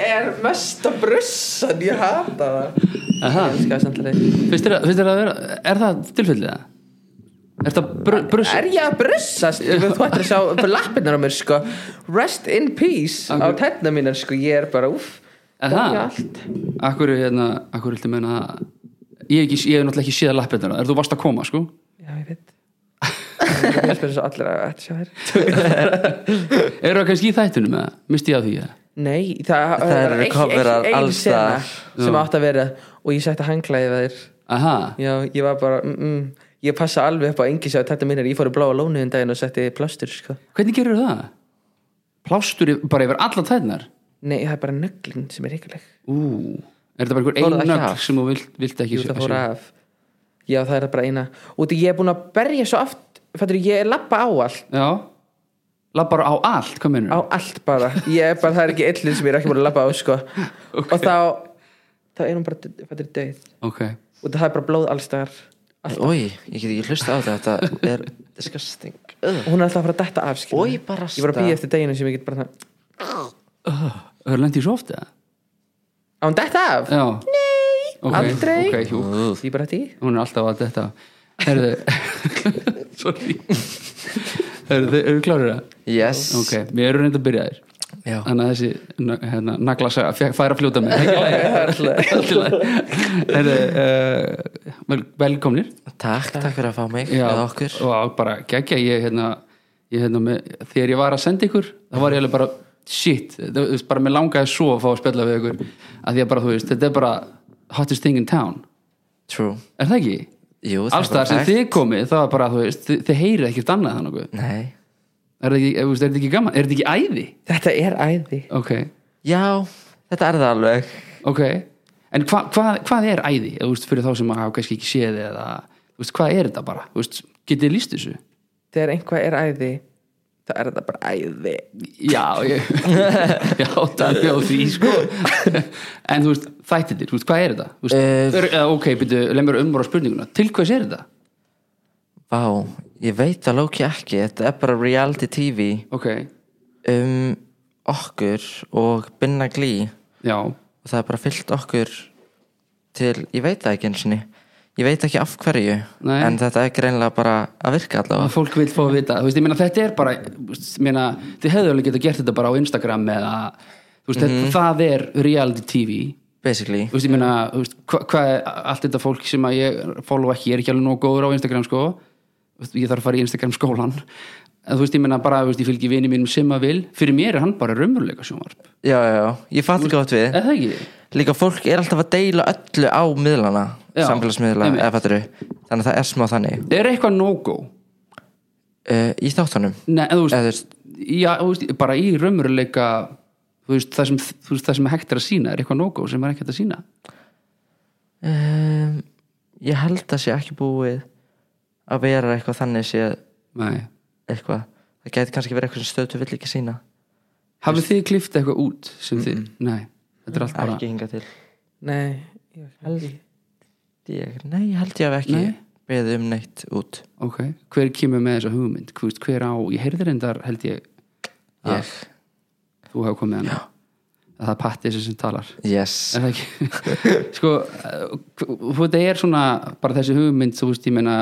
er mesta brussan ég hata það Er það? ég elska það samt alveg Finnst þér að- finnst þér að vera, er það tilfellið það? Er það br bruss? er ég að brussast Ég veit, þú ættir að sjá lappinnar á mér sko rest in peace á Akkur- tætna mínar sko ég er bara uff Er það? allt Akkur, hérna, akkur viltu meina að ég, hef ekki, ég hef náttúrulega ekki séð lappirnar er þú varst að koma, sko? já ég veit ég er fyrir svo allir að ætti sjá þér Eru það kannski í þættunum eða? Misti ég að því eða? Nei, það, Það eru ein- ein- coverar ein alls sena staðar. sem átt að vera og ég setti hanglaði við þér Aha, já, ég var bara mm, mm, ég passa alveg upp á engi sér þetta minnir, ég fór í bláa lónu en daginn og setti plástur sko. hvernig gerur það? Plástur yfir- bara yfir alla þætnar? nei, það er bara nöglin sem er ykkurleg Ú, er þetta bara einhver Fór einn það ekki nögl af? sem þú vilt, vilt ekki Jú, sjá- það fór sjá? af já, það er bara eina og því ég er búin að berja svo aft fættur, ég er lappa á allt Já, labbar á allt, hvað meinur? á allt bara, ég er bara, það er ekki illin sem ég er ekki búin að lappa á sko. og þá þá er hún bara fættur döið Ok, og það er bara blóð allstar Ói, ég get ekki hlusta á þetta Þetta er disgusting Ugh. og hún er alltaf að fara að detta af skilur. Oj, bara ég var að býja stað. eftir deginu sem ég get bara það það er lendið svo ofta Á hún detta af? Já Nei, aldrei. Ok, jú, Því bara því? hún er alltaf að þetta Herðu Sorry Herðu, þau eru klárir það? Yes Ok, við erum reynd að byrja þér Já. Þannig að þessi nö- hérna, nagla saga fær að fljóta með Herðu, uh, vel, Velkomnir Takk, takk fyrir að fá mig Já, Eða okkur og bara geggja ég hérna, ég, hérna með, þegar ég var að senda ykkur þá var ég alveg bara shit það, þú veist, bara mér langaði svo að fá að spjalla við ykkur að því að bara þú veist, þetta er bara hottest thing in town, True er það ekki? Jú, það er Allstaðar sem bara þið komið, það var bara þú veist, þið, þið heyrið ekkert annað þannig er Nei þetta ekki, eh, er, er þetta ekki gaman, er þetta ekki æði? Þetta er æði. ok, Já, þetta er það alveg ok en hva, hva, hvað er æði, Eða, þú veist, fyrir þá sem að hafa kannski ekki séð eða, þú veist, hvað er þetta bara, þú veist, getið þið lýst þessu? Þegar einhvað er æði, þá er þetta bara æði. Já, ég, já, dæmi á því sko En þú veist, þættindir, þú veist, hvað er þetta? Þú Veist, Eh, er, eða, ok, byrju, lemur umvara spurninguna Til hvers er þetta? Vá, ég veit að lóki ekki Þetta er bara reality tv Ok, um okkur og binna glý já, og það er bara fyllt okkur til, ég veit það ekki eins og ég veit ekki af hverju Nei. en þetta er greinlega bara að virka að allavega fólk vil fá að vita Þú veist, ég meina, þetta er bara þú veist, ég meina, Þið hefðu alveg getað gert þetta bara á Instagram eða, þú veist, þetta, það er reality TV basically Þú veist, ég meina, þú veist, hvað hva er allt þetta fólk sem að ég follow ekki, ég er ekki alveg nóg góður á Instagram sko, Þú veist, ég þarf að fara í Instagram skólan en þú veist, ég meina bara, þú veist, ég fylgi vini mínum sem að vil, fyrir mér er hann bara raunveruleika sjónvarp, já, já, já, ég fatt ekki átt við eða það ekki? líka fólk er alltaf að deila öllu á miðlana, Já, samfélagsmiðla einmitt. eða fatturu, þannig að það er smá þannig Er eitthvað no-go? uh, í þáttunum Nei, en þú Eða þú veist, já, þú veist, bara í raunveruleika þú veist, það sem, þú veist, það sem er hægt er að sína, er eitthvað no-go sem er ekki hægt að sína? um, ég held að sé ekki búið að vera eitthvað þannig sé Nei. eitthvað það gæti kannski verið eitthvað sem stötu vill ekki sína Hafið þið klift eitthvað út sem þið? Nei, þetta er allt bara ekki hinga til Nei, ég held ég. ég, nei, ég held ég hef ekki Nei. beðið um neitt út Ok, hver kemur með þessa hugmynd? Hvað veist, Hver á, ég heyrði reyndar held ég ég, að þú hefur komið hann að það er patti þessi sem talar yes er það ekki? sko, eh, þú- þetta er svona bara þessi hugmynd, þú veist, ég meina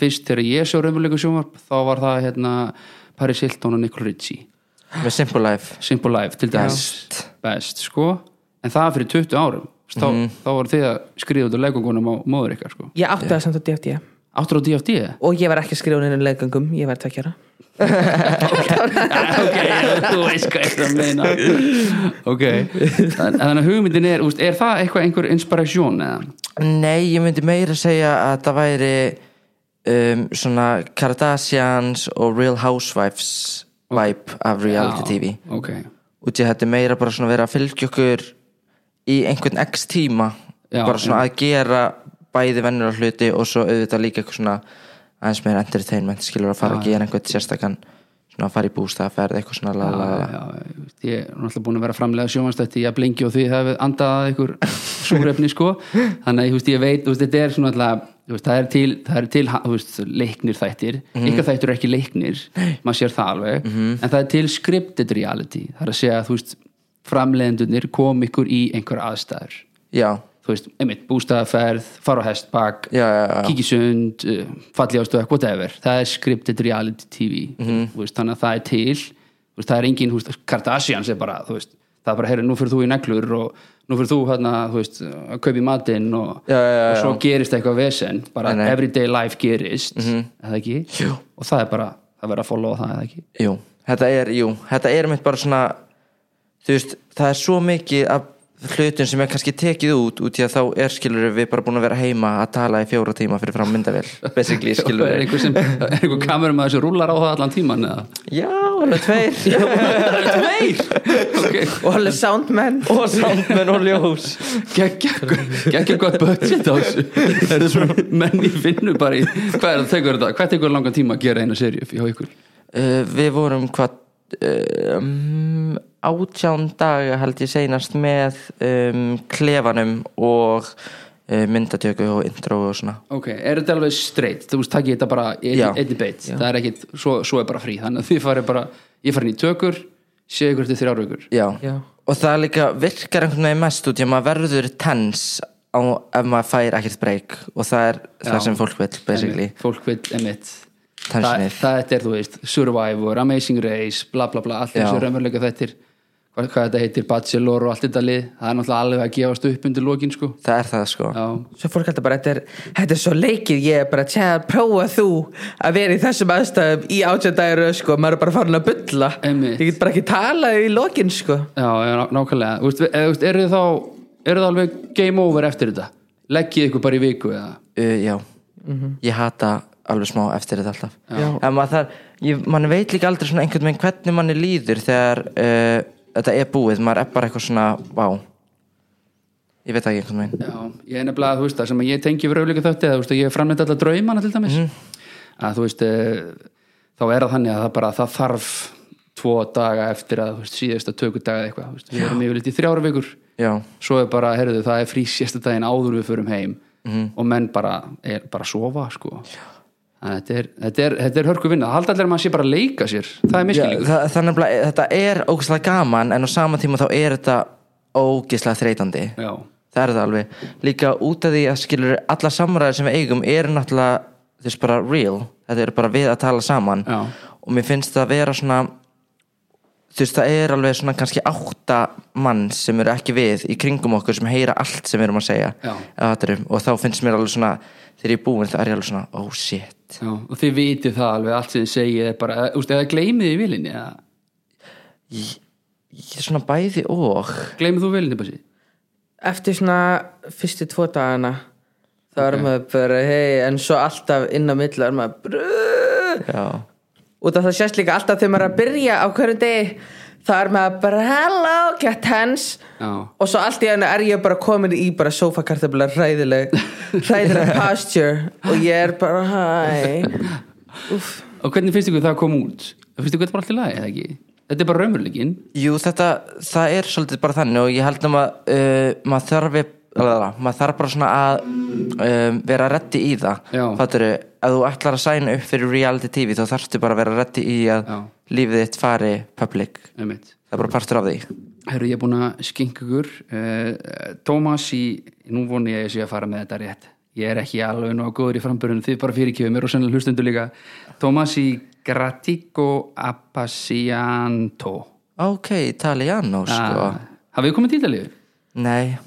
fyrst þegar ég sjá raunveruleika sjónvarp þá var það hérna Paris Hilton og Nicole Ritchie, með Simple Life Simple Life til dæmis Best. Mhm. best, sko en það fyrir 20 árum, Þú veist, þá, þá voru þið að skriða út á legungunum á móður ykkar sko. Ég átti það samt á DFD. áttur á DFD eða? Og ég var ekki skrifun inn í leggangum, ég var tveggjara. ok, þú veist hvað ég er að meina ok En- þannig að hugmyndin er, úst, er það eitthvað einhver inspiration eða? nei, ég myndi meira segja að það væri um, svona Kardashians og Real Housewives vibe af reality TV ok, út í að þetta er meira bara svona verið að fylgja okkur í einhvern x tíma Já, bara svona að gera bæði vennulega hluti og svo auðvitað líka eitthvað svona aðeins meira entertainment skilur að fara að gera einhvern sérstakann svona að fara í bústaðaferð eitthvað svona la la la já, ég veist, ég er náttúrulega búin að vera framlega sjómanstætti ég að blingi og því það hefur andað ykkur súrefni sko, þannig að ég, veist, ég veit úst, þetta er svona alltaf þú veist, það er til, það er til þú veist, leiknir þættir ykkar þættir er ekki leiknir, maður sér það alveg en það er til scripted reality það er að segja, þú veist framleiðendunir kom ykkur í einhver aðstæður já, þú veist, einmitt, bústaðaferð, fara á hest bak, já, já, já. kíkisund uh, falli ástöðak, whatever, það er scripted reality tv, Mhm. þú veist, þannig að það er til þú veist, það er engin, þú veist, Kardashians er bara, þú veist, það er bara, herri, nú fyrir þú í neglur og nú fyrir þú hérna, þú veist að kaupi matinn og, Já, já, já, og svo gerist eitthvað vesen, bara Nei, Mhm. nei. everyday life gerist, eða ekki Jú. og það er bara, það verður að followa það eða ekki Jú, þetta er, jú, þetta er mitt bara svona þú veist, það er svo mikið af hlutum sem er kannski tekið út út í að þá er skilur við bara búin að vera heima að tala í fjóra tíma fyrir fram myndavél basically skilur er við einhver, sem, er einhver kamerum að þessu rúlar á það allan tíman eða? Já, alveg tveir Meir! ok, og alveg soundman og soundmenn og ljós geggja gott budget á þessu þetta er svona menn í vinnu bara í hvað er það tekur þetta, hvað tekur langan tíma að gera eina serju hjá ykkur uh, Við vorum hvað uh, um, átján daga held ég seinast með um, klefanum og uh, myndatöku og intro og svona ok, er þetta alveg straight, þú veist, takk ég þetta bara Já. einni beitt, það er ekkit, svo, svo er bara frí þannig að þið farið bara, ég farin í tökur sé ykkur til þrjár vikur já. Já. og það líka virkar einhvern veginn mest út í að maður verður tens á, ef maður fær ekkert breyk og það er það sem fólk vil basically Einmitt, fólk vil emitt það, Tensionið. það er, þú veist, Survivor, Amazing Race bla bla bla, allt Já. þessu raunveruleika þettir hvað, hvað þetta heitir, Bachelor og allt þetta lið það er náttúrulega alveg að gefast upp undir lokin sko. það er það sko já, svo fólk heldur bara, þetta er, þetta er svo leikið ég er bara, tjá, prófa þú að vera í þessum aðstæðum í átjöndagir sko, maður er bara farin að bulla Einmitt. ég get bara ekki talað í lokin sko. Já, já, ná- nákvæmlega Þú veist, e- þú veist, Eru þið þá eru þið alveg game over eftir þetta? Leggið ykkur bara í viku eða? uh, já, Mhm. ég hata alveg smá eftir þetta alltaf en maður þar, ég, mann veit líka aldrei svona einhvern veginn hvernig manni líður þegar uh, þetta er búið, maður er bara eitthvað svona vá, ég veit það ekki einhvern veginn Já, ég er nefnilega, þú veist, það sem ég tengi við raunleika þötti eða, þú veist, ég hef framleitt alla draumana til dæmis að þú veist e, þá er það þannig að það bara það þarf tvo daga eftir að þú veist, síðasta tökudaga eða eitthvað, þú veist, við erum yfirleitt í þrjára vikur já, svo er bara, heyrðu, það er frí sérsta daginn áður við förum heim og menn bara, er, bara sofa sko. Þannig að þetta er, þetta er, þetta er hörku vinna, halda allir að maður sé bara að leika sér það er já miskilning það, þannig að þetta er ógeðslega gaman en á sama tíma þá er þetta ógeðslega þreytandi Já, það er það alveg líka út af því að skilur alla samræður sem við eigum eru náttúrulega þess bara real þetta eru bara við að tala saman Já. og mér finnst það að vera svona þú veist það er alveg svona kannski átta mann sem eru ekki við í kringum okkur sem heyra allt sem við erum að segja Já. Eða þetta erum, og þá finnst mér alveg svona þegar ég er búin þá er ég alveg svona oh shit já, og þið vitið það alveg allt sem þið segið er bara, eh, úst, eða gleymið þið vilinni eða ég, ég er svona bæði og gleymið þú vilinni bara sér eftir svona fyrstu tvo dagana þá er maður bara, hei, en svo alltaf inn á milli er maður brrrr já, út af það sést líka alltaf þegar maður er að byrja á hverjum degi þá er maður bara hello, get hands Já. og svo allt í hennu er ég bara komin í bara sofakartabla hræðileg hræðileg posture og ég er bara hæ Úff, Og hvernig finnst ykkur það að koma út? Finnst ykkur þetta bara allt í lagi eða ekki? Þetta er bara raumurlegin Jú, þetta, það er svolítið bara þannig og ég held að maður uh, mað þarf maður þarf bara svona að um, vera reddi í það Já. fattur ef þú ætlar að sæna upp fyrir reality tv þá þarftu bara að vera reddi í að Já. lífið þitt fari public Einmitt. það er bara partur af því Herru, ég er búin að skinka ykkur uh, Tómas í, nú voni ég að ég sé að fara með þetta rétt Ég er ekki alveg nóg góður í framburðinu Þið bara fyrirkjöfum mér og sennilega hlustundu líka Tómas í Gratico Appasianto ok, Italiano sko Ah, Hafið þið komið til Ítalíu? nei,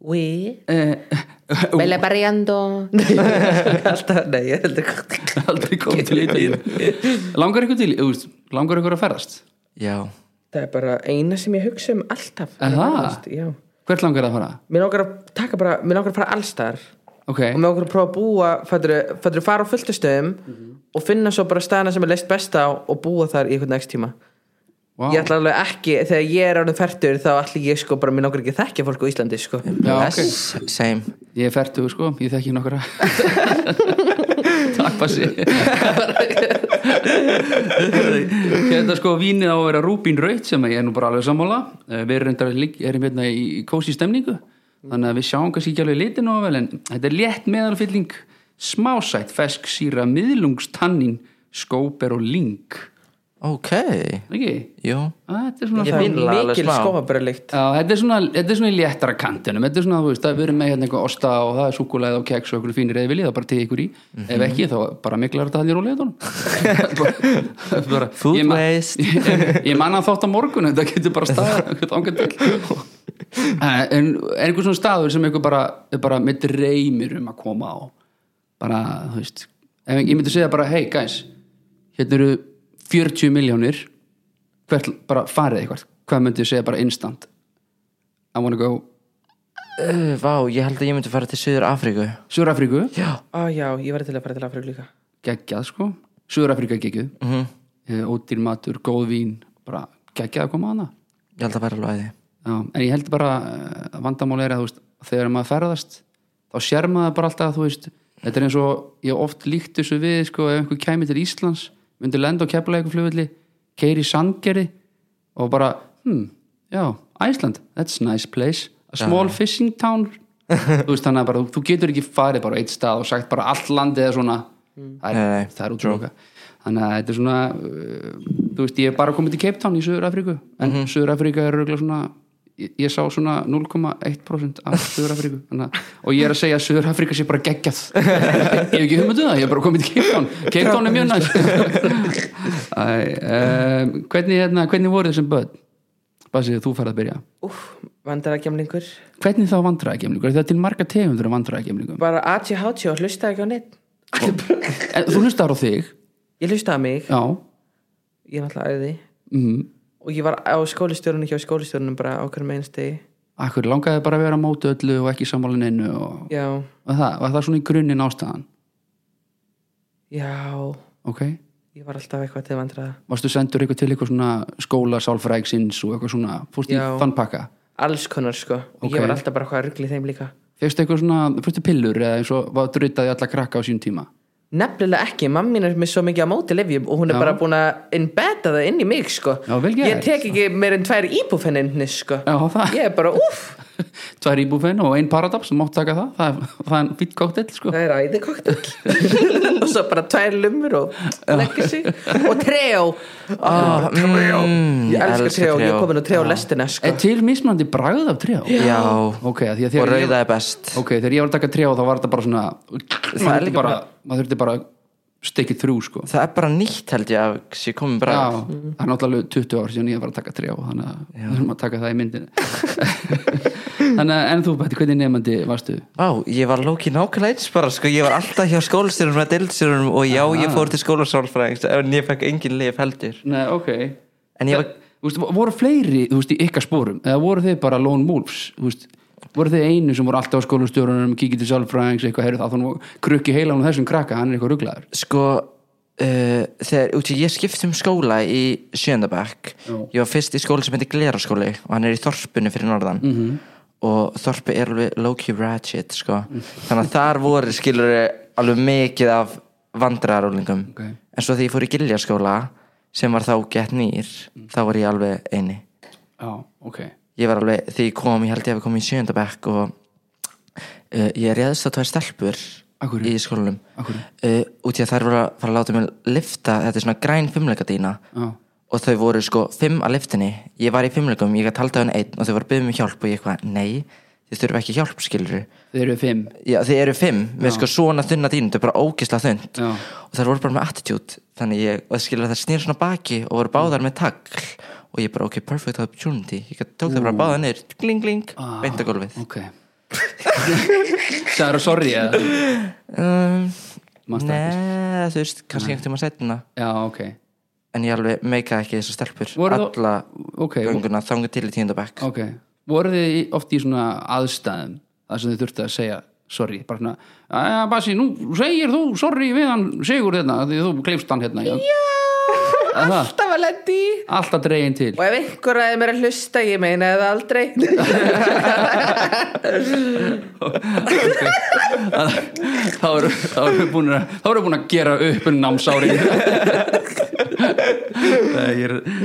we Uh, bella barriando alltaf, nei, ég heldur aldrei komið til Ítalíu langar ykkur til, þú veist, langar ykkur að ferðast já það er bara eina sem ég hugsa um alltaf Er það? Já. hvert langar það að fara? mér langar að taka bara, mér langar að fara allstar ok, og með okkur að prófa að búa fættur, fættur fara á fullta stöðum og finna svo bara staðina sem er leist best á og búa þar í einhvern ekki tíma wow ég ætla alveg ekki, þegar ég er ánum færtur þá ætla ég sko bara, mér langar ekki að þekkja fólk á Íslandi sko. Já, ok. yes, same ég er færtug sko, ég þekki nokkra takk passi þetta sko vínið á að vera rúbín raut sem ég er nú bara alveg sammála Eh, við reyndar ligg- erum hérna í kósi stemningu þannig að við sjáum kannski ekki alveg litin og vel en þetta er létt meðalfylling smásætt, fesk, síra, miðlungstannin skóper og ling ok, ekki? jú Að, þetta er svona Ég Það finn það er alveg mikil smá. skofabröðlikt Já, þetta er svona, þetta er svona í léttara kantinum þetta er svona, þú veist, það er verið með hérna eitthvað osta og það er súkulega og keks og eitthvað fínir eða viljið það bara tegja ykkur í, Mhm. ef ekki þá bara miklar þetta hann í rólega Food waste. ég, ég manna þátt á morgun þetta getur bara staðar einhvern angan til Eh, en er einhver svona staður sem eitthvað bara, er bara með dreymir um að koma á bara, þú veist ef, ég myndi segja bara, hey guys hérna eru 40 miljónir hvert, bara farið eitthvað hvað myndi ég segja bara instant I wanna go uh, vá, ég held að ég myndi fara til Suður Afríku Suður-Afríku, já, Á já, ég var til að fara til Afríku líka geggjað sko Suður-Afríka geggjuð mm Mhm, ódýr matur, góð vín bara geggjað að koma á hana ég held að vera alveg að því Já, en ég held bara eh, vandamál er að þú veist, þegar maður ferðast þá sér maður bara alltaf þú veist, þetta er eins og ég hef oft líkt þessu við sko, ef einhver kæmi til Íslands myndi lenda á keflaðið eitthvað flugulli keiri sandgerði og bara hmm, já, Iceland, that's a nice place a small fishing town þú veist þannig að bara, þú- þú getur ekki farið bara á eitt stað og sagt bara allt landið er svona það Nei, er, nei, það er útlöka þannig að þetta er svona uh, þú veist, ég hef bara komið til Cape Town í Suður Afríku en Suður Afríka er rauglega svona ég, ég sá svona 0,1% af Suður Afríku þannig, að- og ég er að segja að Suður Afríka sé bara geggjað ég hef ekki hugmynduð það, ég hef bara komið til Cape Town Cape Town er mjög næst um, hvernig, hérna, hvernig voru þessum börn? Basið, þú færð að byrja Úf, vandarakjamlingur hvernig þá vandræða gemlingur? Það er til marga tegundur af vandræða gemlingum Bara aðtjá hátjá, hlustaði ekki á neitt Eh, þú hlustar á þig, Ég hlustaði á mig, já ég er náttúrulega æði mm. Og ég var á skólistjórunum hjá skólistjórunum bara á hverjum einstegi Akkur langaði bara að vera á móti öllu og ekki sammála neinu og Já, var það, var það svona í grunninn ástæðan já, ok, ég var alltaf eitthvað til vandraða varstu sendur eitthvað til eitthvað svona skóla sálfræksins og eitthvað svona, fórstu í Já. þann pakka Alls konar sko og Ok. Ég var alltaf bara hvað ruggli þeim líka fegstu eitthvað svona, fórstu pillur eða eins og var drutaði alla krakka á sín tíma Nefnilega ekki, mamma mín er með svo mikið á móti lifjum og hún er Já. bara búin að innbeta það inn í mig sko Já, vel gert. Ég tek ekki meir en tvær íbúfenninni sko já það, Ég er bara úff, tvær íbúfen og ein paradab sem mátt taka það, það, er- það er fýtt kóttel sko, það er æði koktel Og svo bara tvær lumur og leggir sig Og trejó, oh, mm, ég elska trejó, ég er komin á trejó lestina sko er til mismunandi bragð af trjá já, ok, af því að og þegar ég, rauða er best ok, þegar ég var að taka trjá þá var þetta bara svona maður þurfti bara, maður þurfti bara stekið þrjú sko það er bara nýtt held ég að sé komin bara Já, það er náttúrulega 20 ár síðan ég var að taka trjá þannig að við þurfum að taka það í myndinu þannig að en þú Patti, hvernig nefandi varstu? Vá, ég var lókið nákvæmlega eins bara sko, ég var alltaf hjá skólastjórunum með deildstjórunum og já, ég fór til skólasálfræðings en ég fekk engin lif heldur Nei, ok En ég var, Vistu, voru fleiri, þú veist, í ykkar spórum eða voru þið bara lone wolves þú veist, voru þið einu sem voru alltaf á skólastjórunum kikið til sálfræðings, eitthvað heyrðu það þannig krukki heilan og þessum krakka, hann er eitthvað rugglaður sko uh, þegar, út í ég skipti um skóla í sjöndabæk, ég var fyrst í skóla sem heitir Gleraskóli og hann er í þorpinu fyrir norðan -hmm. og þorpi er alveg low-key ratchet sko, þannig að þar voru skilur alveg mikið af vandrarúlingum, Ok. en svo þegar ég fór í Giljaskóla, sem var þá gett nýr, Mm. þá var ég alveg eini Já, ok ég var alveg, þegar ég kom, ég held ég að við komum í sjönda bekk og uh, ég réðst á tvær stelpur Af hverju? í skólanum Af uh, hverju? út í að þær voru að fara að láta mig lifta, þetta er svona græn fimmleika dýna Já, og þau voru sko fimm að liftinni ég var í fimmleikum, ég gæti haldið á henni einn og þau voru að byggja mig um hjálp og ég eitthvað, nei þið þurfum ekki hjálp, skilur þið eru fimm Já, þið eru fimm, með sko svona þunna dýnu, þau eru bara ógislega þund Já. og þær voru bara með attitude þannig ég, og skilur þær snýr svona baki og voru báðar með tagl og ég bara, ok, perfect opportunity ég gat- tók þær bara báðar niður, gling, gling ah. beint að gólfið Ok Það eru sorry eða um, Manstu Nei, þú veist, kannski einhvern tíma setna Já, ok en ég alveg meikaði ekki þessar stelpur Voru þá- alla Ok, gönguna þangu til í tíundabæk Ok, voru þið í- oft í svona aðstæðum þar sem þið þurftu að segja sorry, bara svona, aðja Basi, nú segir þú sorry við hann Sigur hérna, af því að þú kleifst hann hérna Já, alltaf Alltaf að lendi Alltaf dregin til Og ef einhver aðeins mér að hlusta, ég meina það aldrei Þá eru þá eru við búin að þá eru við búin að gera upp um námsári Nei, ég er, eh,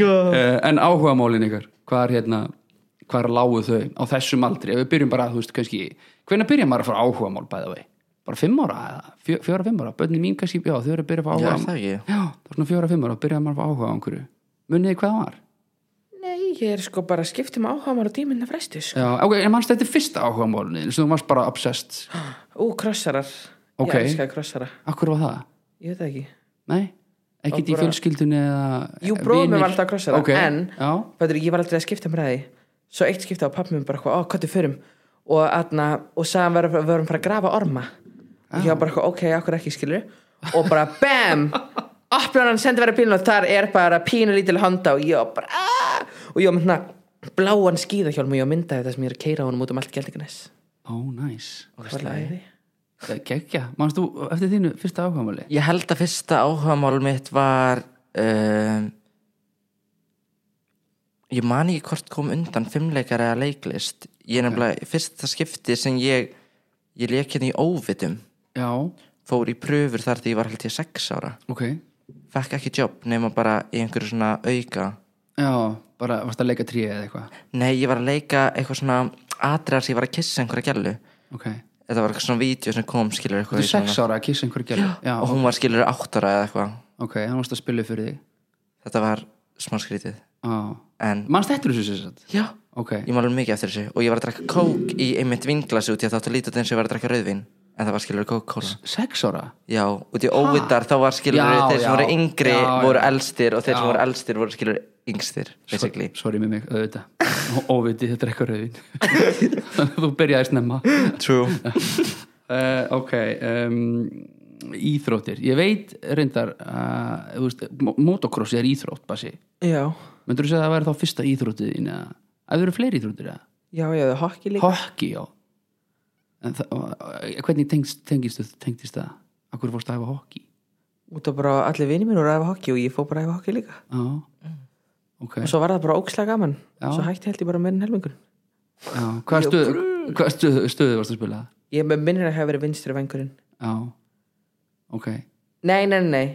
En áhuga málin ykkar hvað er hérna, hvað er lágu þau á þessum aldri, ef við byrjum bara, þú veist, kannski hvenær byrja maður að fara áhuga mál bæða vei? bara fimm ára, eða fjö- fjögurra, fimm ára bönni mín kannski, já þau eru að byrja að fá Já, áhuga er það ekki? já, það var svona fjögurra, fimm ára, byrjaði maður að fá áhuga á einhverju munið þið hvað það var? Nei, ég er sko bara að skipta um áhagamál og díminna fresti sko. Já, ok, en mannst þetta er fyrsta áhuga málunni sem þú varst bara obsessed Ú, krossarar Ok. Ég elskaði krossara Akkur var það? Ég veit það ekki Nei? Ekkert í fjölskyldunni eða Jú, bróðir minn vinir? var alltaf að krossa það, Ok, en- Já, Bæður, ég var aldrei að skipta um ræði Svo eitt skipta á pappi minn bara eitthvað, ó, hvað þið förum Og, atna, og sagðan við við vorum bara um að grafa orma Og ég var bara eitthvað, ok, okkur ekki skilur Og bara bam Opnar hann sendi verið bílun og þar er bara pínu lítil honda Og ég var bara aah! Og ég var myndna bláan skíðahjálm Og ég myndaði þetta sem ég er að keira honum út um allt geldinganes ó, næs Það var læði Kekja, mannst þú eftir þínu fyrsta áhuga máli? Ég held að fyrsta áhugamál mitt var um, ég man ekki hvort kom undan fimmleikar eða leiklist ég er nefnilega, fyrsta skipti sem ég ég leik hérna í óvitum Já, fór í pröfur þar því ég var held ég sex ára ok fekk ekki jobb nema bara í einhverju svona auka Já, bara varst að leika tríið eða eitthvað nei, ég var að leika eitthvað svona atriðar sem ég var að kissa einhverja gælu Ok, þetta var eitthvað svona vídeo sem kom þú skilur eitthvað er í sex svona- ára að kissa einhverju gælu Já, og hún var skilur átt ára eða eitthvað ok, hann varst að spila upp fyrir þig þetta var smá skrítið Já, en mannst þetta þessu sér satt? já, Ok, Ég maður mikið eftir þessu og ég var að drakka kók í einmitt vinglasi út í að þáttu lítið eins og ég var að drakka rauðvin en það var skilur kók-kóla sex ára? Já, út í óvitar þá var skilur Já, þeir sem já. voru yngri Já, já. voru elstir og þeir sem Já. voru elstir voru skilur yngstir basically Sorry með mig, auðvitað Óviti, þetta er eitthvað rauðin Þannig að þú byrjaði snemma True uh, Ok um, Íþróttir, ég veit reyndar uh, þú veist, mo- motocross er íþrótt basi. Já, myndur þú segja að það væri þá fyrsta íþróttið þín eða, að það eru fleiri íþróttir eða? já, já, það er hokki líka Hockey, já en það, eh, hvernig tengst, tengist, tengist það? Akkur fórst að hafa hockey? Út af bara allir vinni mín voru að æfa hokki og ég fó bara að æfa hokki líka Já, ok Og svo var það bara ókslega gaman Já. Svo hætti held ég bara meirinn helmingun Já, hvað stöð, hvað stöð, stöðu varst að spila? Ég með minnir að hafa verið vinstri vengurinn Já, ok Nei, nei, nei, nei.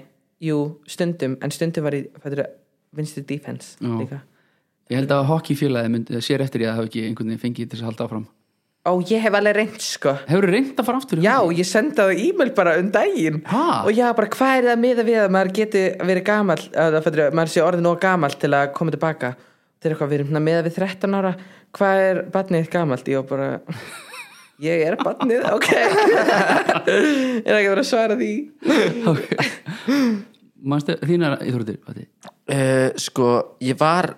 jú, stundum En stundum var ég fættur vinstri defense Já. líka Ég held að hockeyfélagi mynd, sér eftir ég að það hafi ekki einhvern veginn fengið til þess að halda áfram Ó, ég hef alveg reynd, sko Hefur þú reynd að fara aftur? í Já, hockey? ég senda það e-mail bara um daginn Ha? Og já, bara hvað er það miða við að maður geti verið gamall að það fættur, maður sé orðin og gamall til að koma tilbaka Þetta er eitthvað, við erum svona miða við 13 ára Hvað er barnið þitt gamalt? Ég var bara Ég er barnið, ok Ég er ekki verið að svara því Manstu þínar íþróttir? Patti? uh, Sko, ég var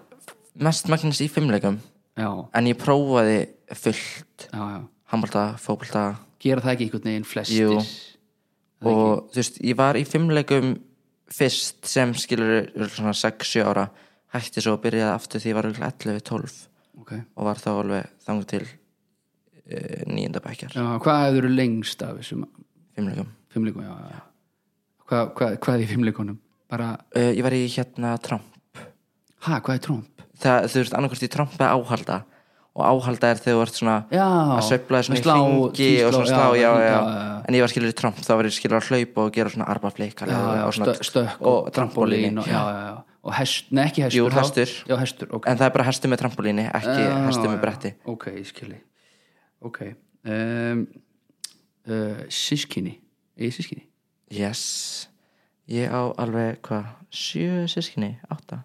mest magnins í fimmleikum Já, en ég prófaði fullt já, já handbólta, fótbólta Gera það ekki einhvern veginn flestir? Jú. og þú veist, ég var í fimmleikum fyrst sem skilur svona 6-7 ára hætti svo að byrjaði aftur því ég var örugglega 11-12 Ok og var þá alveg þangur til uh, nýjunda bækjar, Já, hvað hefur þú lengst af þessum fimmleikum fimmleikum? Já, já. Hvað, hvað, hvað er í fimmleikunum? Bara, uh, ég var í hérna tramp ha, hvað er tromp? það, þú veist, annarkvist í tramp eða áhalda og áhalda er þegar þú ert svona Já, að sveifla svona í slá, hringi tíslá, og svona slá, já, já, já, en ég var skilur í tramp, þá var ég skilur að hlaupa og gera svona arbafleikar já, já, og stö- stökk og og trampolín og, já, já, já, og hest, nei ekki hestur Jú, þá- hestur. Já, hestur, ok en það er bara hestu með trampolíni, ekki Já, hestu Ah, já, með bretti Ok, ég skilji Ok um, uh, Sískinni, eigi sískinni Yes Ég á alveg hvað Sjö sískinni, átta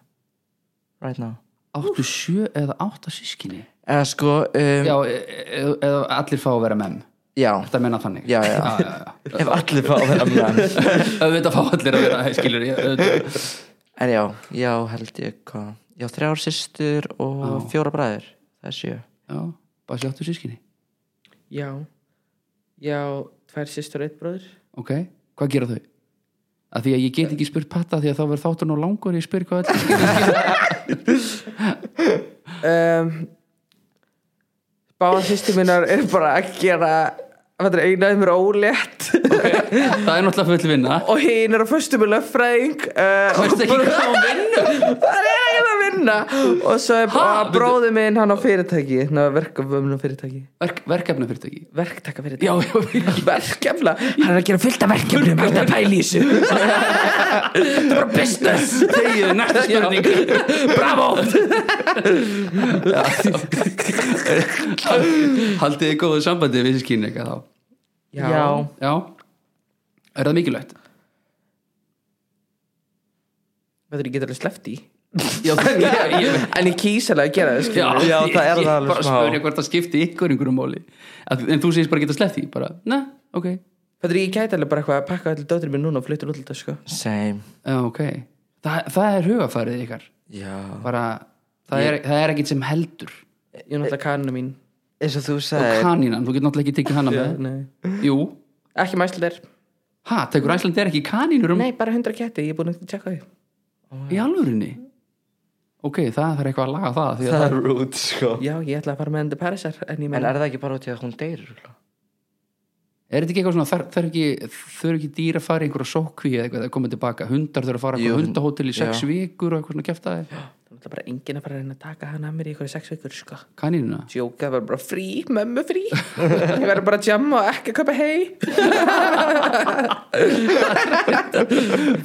Right now Áttu sjö eða átta sískinni Eða sko um, já. Já, e- e- eða allir fá að vera menn Já. Þetta menna þannig Já, já. já, já. Ef allir fá að vera menn auðvitað fá allir að vera skilur ég, auðvitað. En já, já held ég hvað Já, þrjár systur og fjóra bræður Það er sjö já, bara sjáttu sískinni Já, já, tvær sýstur og eitt bróður ok, hvað gera þau? að því að ég get ekki spurt patta því að þá verð þáttur nú langur ég spyr hvað allir um, Báðan sýstur minnar er bara að gera Þetta er einaðið mér ólétt það er náttúrulega full vinna og hinn er á föstu með löffræðing uh, veistu ekki hvað hún vinnur það er ekkert að vinna og svo er Ha, ha, bróði minn hann á fyrirtæki verkefnum fyrirtæki Verk, verkefna fyrirtæki verktaka já, fyrirtæki já, já. verkefla, hann er að gera fullt af verkefnum hann er að pæla í þessu það er bara business þegið, næsta spurning bravo Já. haldið þið góðu sambandi við sískinni eitthvað þá Já. Já, er það mikilvægt? Þetta er ekki alveg sleppt í Já, það er ég En ég kýs alveg að gera það skilur Já, það er ég- það ég alveg bara smá. spurði hvort það skipti ykkur einhverju máli Að- en þú segist bara að geta sleppt því bara, na, ok, Þetta er ég gæti alveg bara eitthvað að pakka allir dóttir minn núna og flytta út alltaf sko same já, ok Þa, það er hugafarið ykkar já, bara, það, er, það er ekkit sem heldur Ég er náttúrulega kaninu mín eins og þú og sagði kanínan, þú getur náttúrulega ekki tekið hana með Nei. jú, Ekki mæslir ha, tekur Æslandi er ekki kanínur um Nei, bara 100 ketti, ég er búin að tjekka því í alvörinni ok, það þarf eitthvað að laga það, því að það er rude sko Já, ég ætla að fara með enda Parisar En ég en meina er það ekki bara út í að hún deyrir Er þetta ekki eitthvað svona, þarf þar ekki, þar ekki dýr að fara í einhverja sókví eða eitthvað að koma tilbaka, hundar þurfa að fara á Jú, eitthvað hundahótel í sex já. vikur og eitthvað svona kæftaði, Það er náttúrulega bara enginn að fara að reyna að taka hann að mér í ykkur sex vikur sko kanínuna Sjóka, það var bara frí, mömmu frí Ég verður bara að jamma og ekki að kaupa hei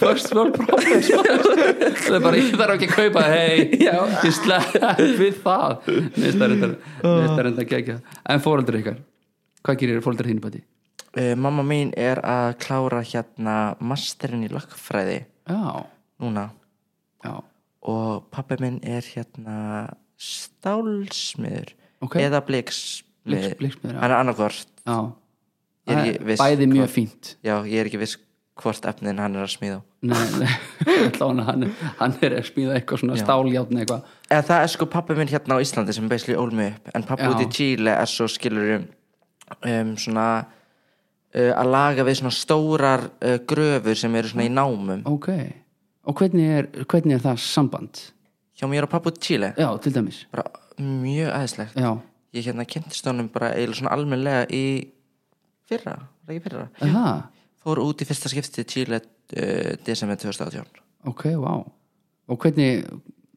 First world problem sko. Það er bara, ég þarf ekki að kaupa hei, Já. ég slepp við það Nesta Ah. reyndar að gegja En fóreldur ykkar, hvað gerir fóreldur þínu bæti? uh, mamma mín er að klára hérna masterinn í lögfræði Já, núna já, og pappi minn er hérna stálsmiður Ok. eða bliksmiður Bliks- blikssmiður, já. hann er annarkvort já Ég er ekki viss Bæði mjög fínt já, ég er ekki viss hvort efnin hann er að smíða Nei, nei, allan hann, hann er að smíða eitthvað svona stáljátn eitthvað eða það er sko pappi minn hérna á Íslandi sem beisli ólmi upp en pappi Já. út í Chile er svo skilur um, um svona uh, að laga við svona stórar uh, gröfur sem eru svona í námum Ok, og hvernig er, hvernig er það samband? hjá mér og pappi út í Chile Já, til dæmis bara mjög aðeinslegt Já, ég hérna kynntist honum bara eiginlega svona almennlega í fyrra, var það ekki fyrra er það? fór út í fyrsta skipti í Chile uh, desember 2018 Ok, vá Og hvernig,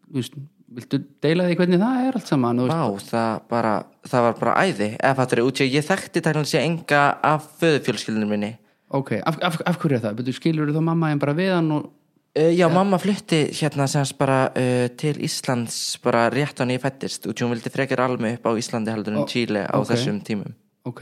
þú veist, viltu deila því hvernig það er allt saman? Þú veist, Vá, það, bara, það var bara æði eða fattur ég út í að ég þekkti tæknilega sé enga af föðufjölskyldinu minni Ok, af, af, af hverju er það? Betur skilur þá mamma en bara við hann og Uh, já, mamma flutti hérna semst bara uh, til Íslands bara rétt á nýja fættist og hún vildi frekar almi upp á Íslandi heldur en Ó, Chile á ok. þessum tímum Ok,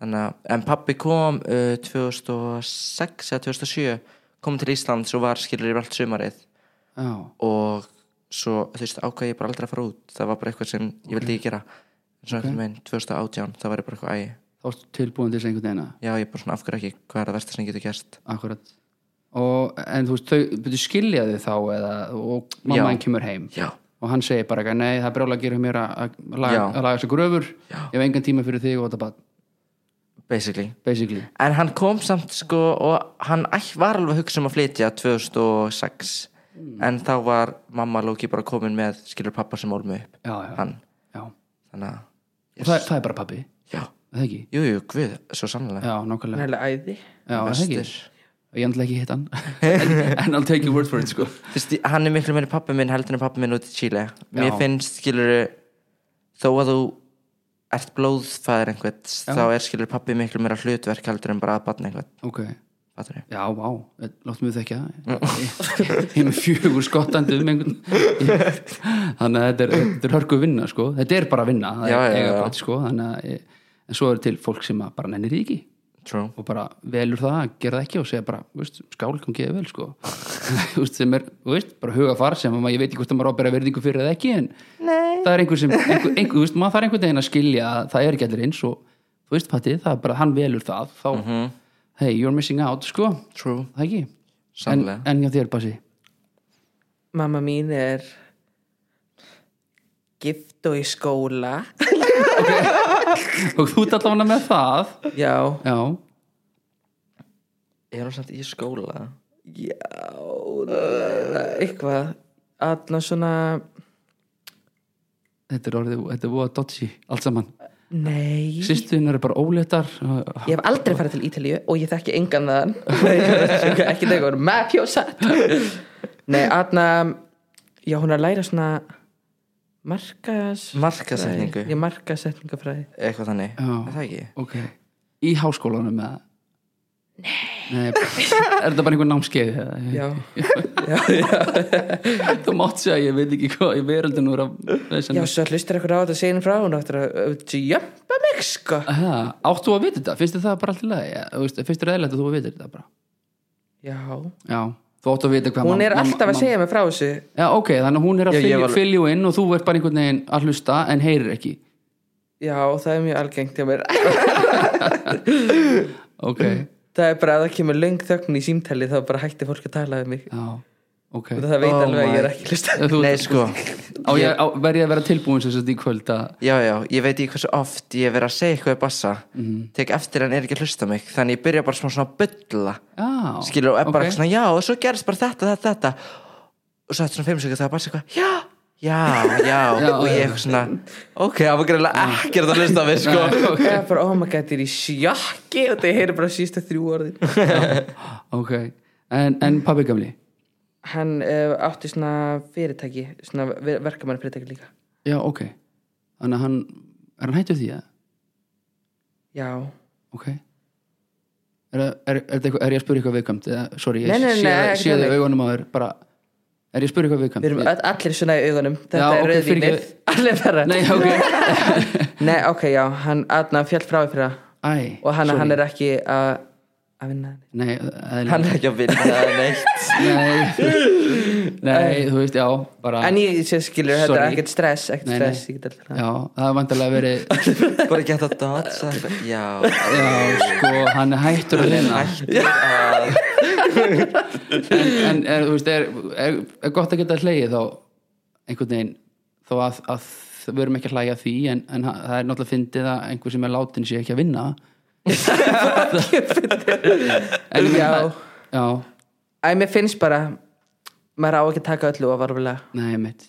Þannig að, en pappi kom uh, 2006 eða 2007 kom til Íslands og var skilur yfir allt sumarið já, og svo, þú veist, ákvað ég bara aldrei að fara út það var bara eitthvað sem ég vildi ekki gera en svona okay. með 2018, það var ég bara eitthvað ægi þá ertu tilbúin til þess einhvern veginn Já, ég bara svona af hverju ekki, hvað er það versta sem getur gerst Akkurat og, En þú veist, þau, betur skilja þið þá eða, og mamma Já. hann kemur heim Já, og hann segir bara eitthvað, nei, það er brjóla að gera mér að að laga, Já. að laga sér gröfur já. ég hef engan tíma fyrir þig og þetta bara basically basically, En hann kom samt sko og hann ætt- var alveg að hugsa um að flytja 2006 Mm. en þá var mamma Lóki bara komin með skilur pappa sem ólmu upp já, já, hann, já. þannig að, og það, það er bara pappi, já, er það ekki? jú, jú, guð, svo sannlega Já, nákvæmlega, Nælega æði já, er það ekki Bestur. ég ætla ekki hitt hann en, en I'll take your word for it, sko Þú veist, hann er miklu meiri pappi minn heldur en pappi minn út í Chile mér Já. finnst skilur þó að þú ert blóðfæðir einhvern þá er skilur pappi miklu meira hlutverk heldur en bara að batna einhvern ok, Fattarðu? já, vá, láttum við þekka Mm. það ég er með fjögur skottandi um einhvern þannig að þetta er, þetta er hörku vinna, sko þetta er bara vinna, það Já, er já, já. eigabætt, sko þannig að, ég- en svo er til fólk sem að bara nennir því ekki True. og bara velur það að gera það ekki og segja bara, veist, skál kom geði vel sko veist, sem er, veist, bara hugafar sem að maður, ég veit ekki hvort að maður á að bera verðingu fyrir eða ekki en Nei. það er einhver sem einhver, einhver, veist, maður þarf einhvern veginn að skilja að það er ekki allir eins og þú veist Patti, það er bara, hann velur það þá, hey, you're missing out sko True. það ekki, en, Sannlega. en hjá þér Bassi Mamma mín er gift og í skóla og þú ert allavega með það Já, já, Er hún samt í skóla? já uh, eitthvað Alla svona þetta er orðið, þetta er voða dodgy allt saman, Nei, sýstuðin eru bara óléttar ég hef aldrei farið til Ítalíu og ég þekki engan þaðan Nei, ég er að sjóka, ekki þegar mapjósa Nei, Anna Já, hún er að læra svona markas Markasetningu? Ég markasetningafræði Eitthvað þannig. Já. Er það ekki? Ok, í háskólanum með Nei Nei, er þetta bara einhver námskeið? eða? Já, Þú mátt segja, ég veit ekki hvað í veröldinu er að já svo hlustir eitthvað á þetta segin frá hún áttur að uh, jumpa mig sko Aha, áttu að vita þetta, finnst þér það bara allt í lagi ja, þú veist, finnst þér eðlægt að þú að vita þetta bara já, hún já, þú áttu að vita hvað er alltaf að segja mig frá þessu já, ok, þannig að hún er að Já, ég fylgja var- fylgju inn og þú ert bara einhvern veginn að hlusta en heyrir ekki já, það er mjög algengt hjá mér ok, það er bara að það kemur löng þögn í símtali þá bara hætti fólk að tala um mig já, ok og það veit Oh alveg að ég er my- ekki hlusta Þú- Nei, sko á, ég, á, verð ég að vera tilbúin sem sagt í kvöld að Já, já, ég veit ekki hversu oft ég hef verið að segja eitthvað í bassa Mhm. tek eftir en er ekki að hlusta á mig þannig ég byrja bara smá svona að bylla Já, skilur og er bara ok. okay. svona já og svo gerist bara þetta, þetta, þetta og svo eftir svona fimm sekund það er bara eitthvað já, já, já, Já, og ég já. eitthvað svona ok, það var greinlega ekkert að hlusta á mig sko. Nei, það er bara, oh my god, ég er í sjokki og það heyri bara sísta þrjú orðin ok en, en pabbi gamli hann uh, átti svona fyrirtæki svona verkamann fyrirtæki líka já ok þannig að hann, er hann hættur því að já, ok er, er, er, er, eitthvað, er ég að spura eitthvað viðkvæmt eða, sorry, ég Nei, nei, nei, sé, ekkert sé þannig. þau augunum á þér bara, er ég að spura eitthvað Við viðkvæmt erum öll, allir svona í augunum Þetta Já, er ok, rauðvínið fyrirgefðu. Allir bara nei, ok, Nei, ok, já, hann Adna fjall frá fyrir það æ Og hann, sorry. hann er ekki að að vinna henni nei, eðlilega. hann er ekki að vinna það neitt nei, nei, þú veist, já bara, En ég sé skilur, þetta er Sorry. ekkert stress Ekkert Nei, nei. stress, ég get alltaf já, það er vantarlega verið bara geta að dansa eitthvað. já, já, sko, hann er hættur að vinna hættu að en er, þú veist, er, er, er gott að geta hlegið þá einhvern veginn þó að, að við erum ekki að hlæja að því en, en ha- það er náttúrulega fyndið að einhver sem er látin sé ekki að vinna en, ég meina- já, Æ, mér finnst bara Maður á ekki að taka öllu og varfulega nei mitt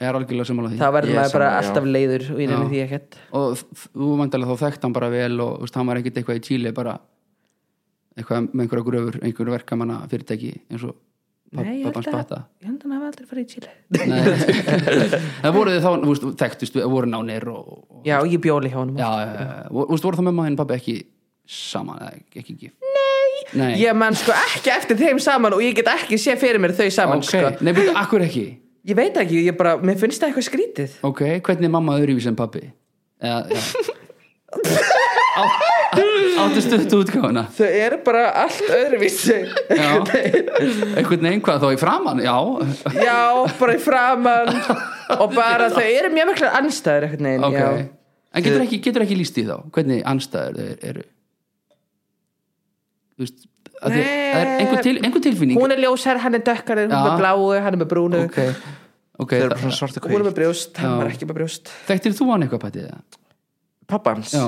ég er algjörlega sammála því Þá verður Ég er maður bara sammála, já. alltaf leiður Og ég nefnir Já. því ekkert og þ- þú vandalega þá þekkt hann bara vel og þú veist, hann var ekkert eitthvað í Chile bara eitthvað með einhverja gröfur einhverju verkamanna fyrirtæki eins og Nei, ég held pappans að bata Ég held að hann hafa aldrei farið í Chile það voru þið þá, þú veist, þekktust voru nánir og, og Já, ég bjóli hjá honum Já, já, já. Þú veist, eh, voru það mamma þinn pabbi ekki saman, eða ekki, ekki gift? Nei. Nei. Ég man sko ekki eftir þeim saman Og ég get ekki sé fyrir mér þau saman ok. sko. Nei, betur, akkur ekki. Ég veit ekki, ég bara, mér finnst það eitthvað skrítið Ok, hvernig er mamma öðruvís en pabbi? Eða, já. Á, áttu stöttu útgáfuna. Þau eru bara allt öðruvísi Já. Einhvern veginn hvað þá í framann, já. Já, bara í framann Og bara þau eru mjög miklu anstæður einhvern veginn Ok. já. En getur ekki, getur ekki líst í þá? Hvernig anstæður þeir eru? Þú veist, að þið, það er einhver, til, einhver tilfinning. Hún er ljósherr, hann er dökkar, hún er Já. með bláu, hann er með brúnu Ok, ok. þau eru bara svona svartu Hún er kvíl með brjóst, hann Já. var ekki með brjóst Þekktir þú hann eitthvað pætið það? pappans, Já,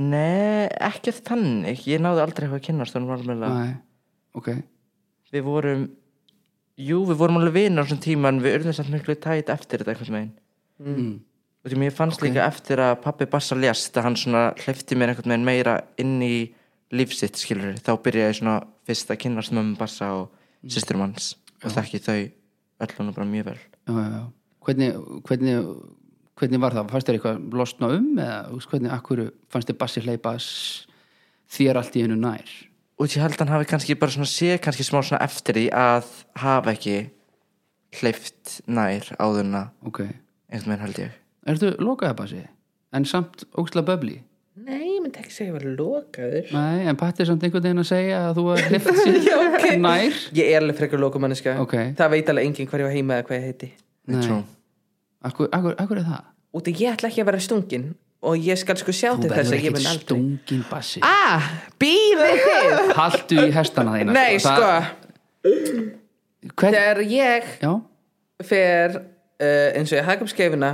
nei, ekki þannig ég náði aldrei eitthvað að kynast þannig varmlega hérna. næ, ok. við vorum jú, við vorum alveg vinnar á svona tíma en við urðum samt miklu tætt eftir þetta einhvern veginn Mm. og því mér fannst líka eftir að pappi Bassa lést að hann svona hleyfti mér einhvern veginn meira inn í lífsitt skilur þá byrjaði ég svona fyrst að kynast mömmu Bassa og mm. sýsturum hans og þekki þau öllunum bara mjög vel já, já, já. Hvernig, hvernig, hvernig var það? Fannst þér eitthvað losna um eða þú veist, hvernig, akkur fannst þér bassi hleypa s- þér allt í hennu nær? og ég held að hann hafi kannski bara svona sé kannski smá svona eftir því að hafa ekki hleyft nær áðurna Ok. einhvern veginn held ég Ertu lokaðið bassi? En samt óksla böbli? Nei, ég myndi ekki segja að ég var lokaður Nei, en patti samt einhvern veginn að segja að þú var hleyft sér nær? Ég er alveg frekar lokumanniska Ok. Það veit alveg enginn hvar ég var heima eða hvað ég heiti Nei. Trú. Akkur, akkur, akkur er það? Út af ég ætla ekki að vera stungin Og ég skal sko sjá Þú til þess að verður ég ekkert mun aldrei stungin bassi. Ah, býðið þið Haltu í hestana þína. Nei, sko, Það- Hvern, þegar ég já, fer uh, eins og ég haka um skeifina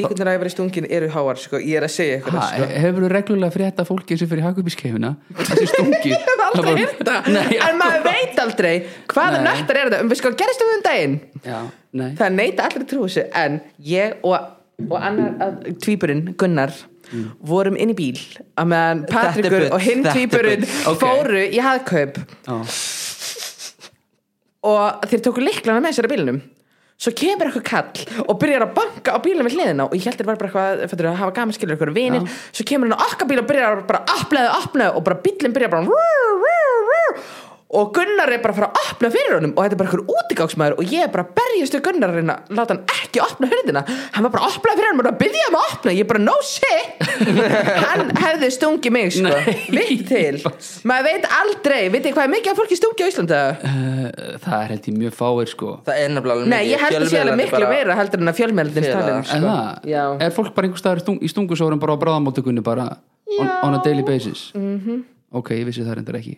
líkundir að ég verið stungin eru háar sko, ég er að segja ykkur ha, það, sko. hefur þú reglulega frétta fólki sem fyrir hakubiskefina? Þessi stungi. Ég hef aldrei heyrt það. Nei, en maður veit aldrei hvaða Nei. nöttar er þetta um við sko gerist um um daginn Já, nei það neyta allir að trú þessu en ég og, og annar að- tvíburinn Gunnar vorum inn í bíl að meðan Mm. er Patrikur bull, og hinn þetta er tvíburinn bull. Ok. fóru í haðkaup Já, og þeir tóku liklana með sér að bílnum svo kemur eitthvað kall og byrjar að banka á bílnum við hliðina og ég held þeir var bara eitthvað fyrir að hafa gaman skilur ykkur vinir svo kemur hann á okkar bíl og byrjar að bara opnaði, opnaði og bara bílinn byrjar bara rú, rú, rú, og Gunnar er bara að fara að opna fyrir honum og þetta er bara einhver útigangsmaður og ég er bara að berjast við Gunnar að reyna að láta hann ekki opna hurðina hann var bara að opna fyrir honum og að byggja hann að opna ég er bara no shit hann hefði stungið mig sko vitt til, maður veit aldrei veit þið hvað er mikið af fólki stungi á Íslanda Eh, það er held ég mjög fáir sko það er nefnilega alveg nei, mikið. ég held að sé alveg Fjölmiðlarnir miklu bara- meira heldur en að fjölmeldin Fela talin en sko. það, já, er fólk bara einhver staðar í stung- í stungusórum bara á bráðamóttökunni bara on, on a daily basis -hmm. Mhm. ok, ég vissi það reyndar ekki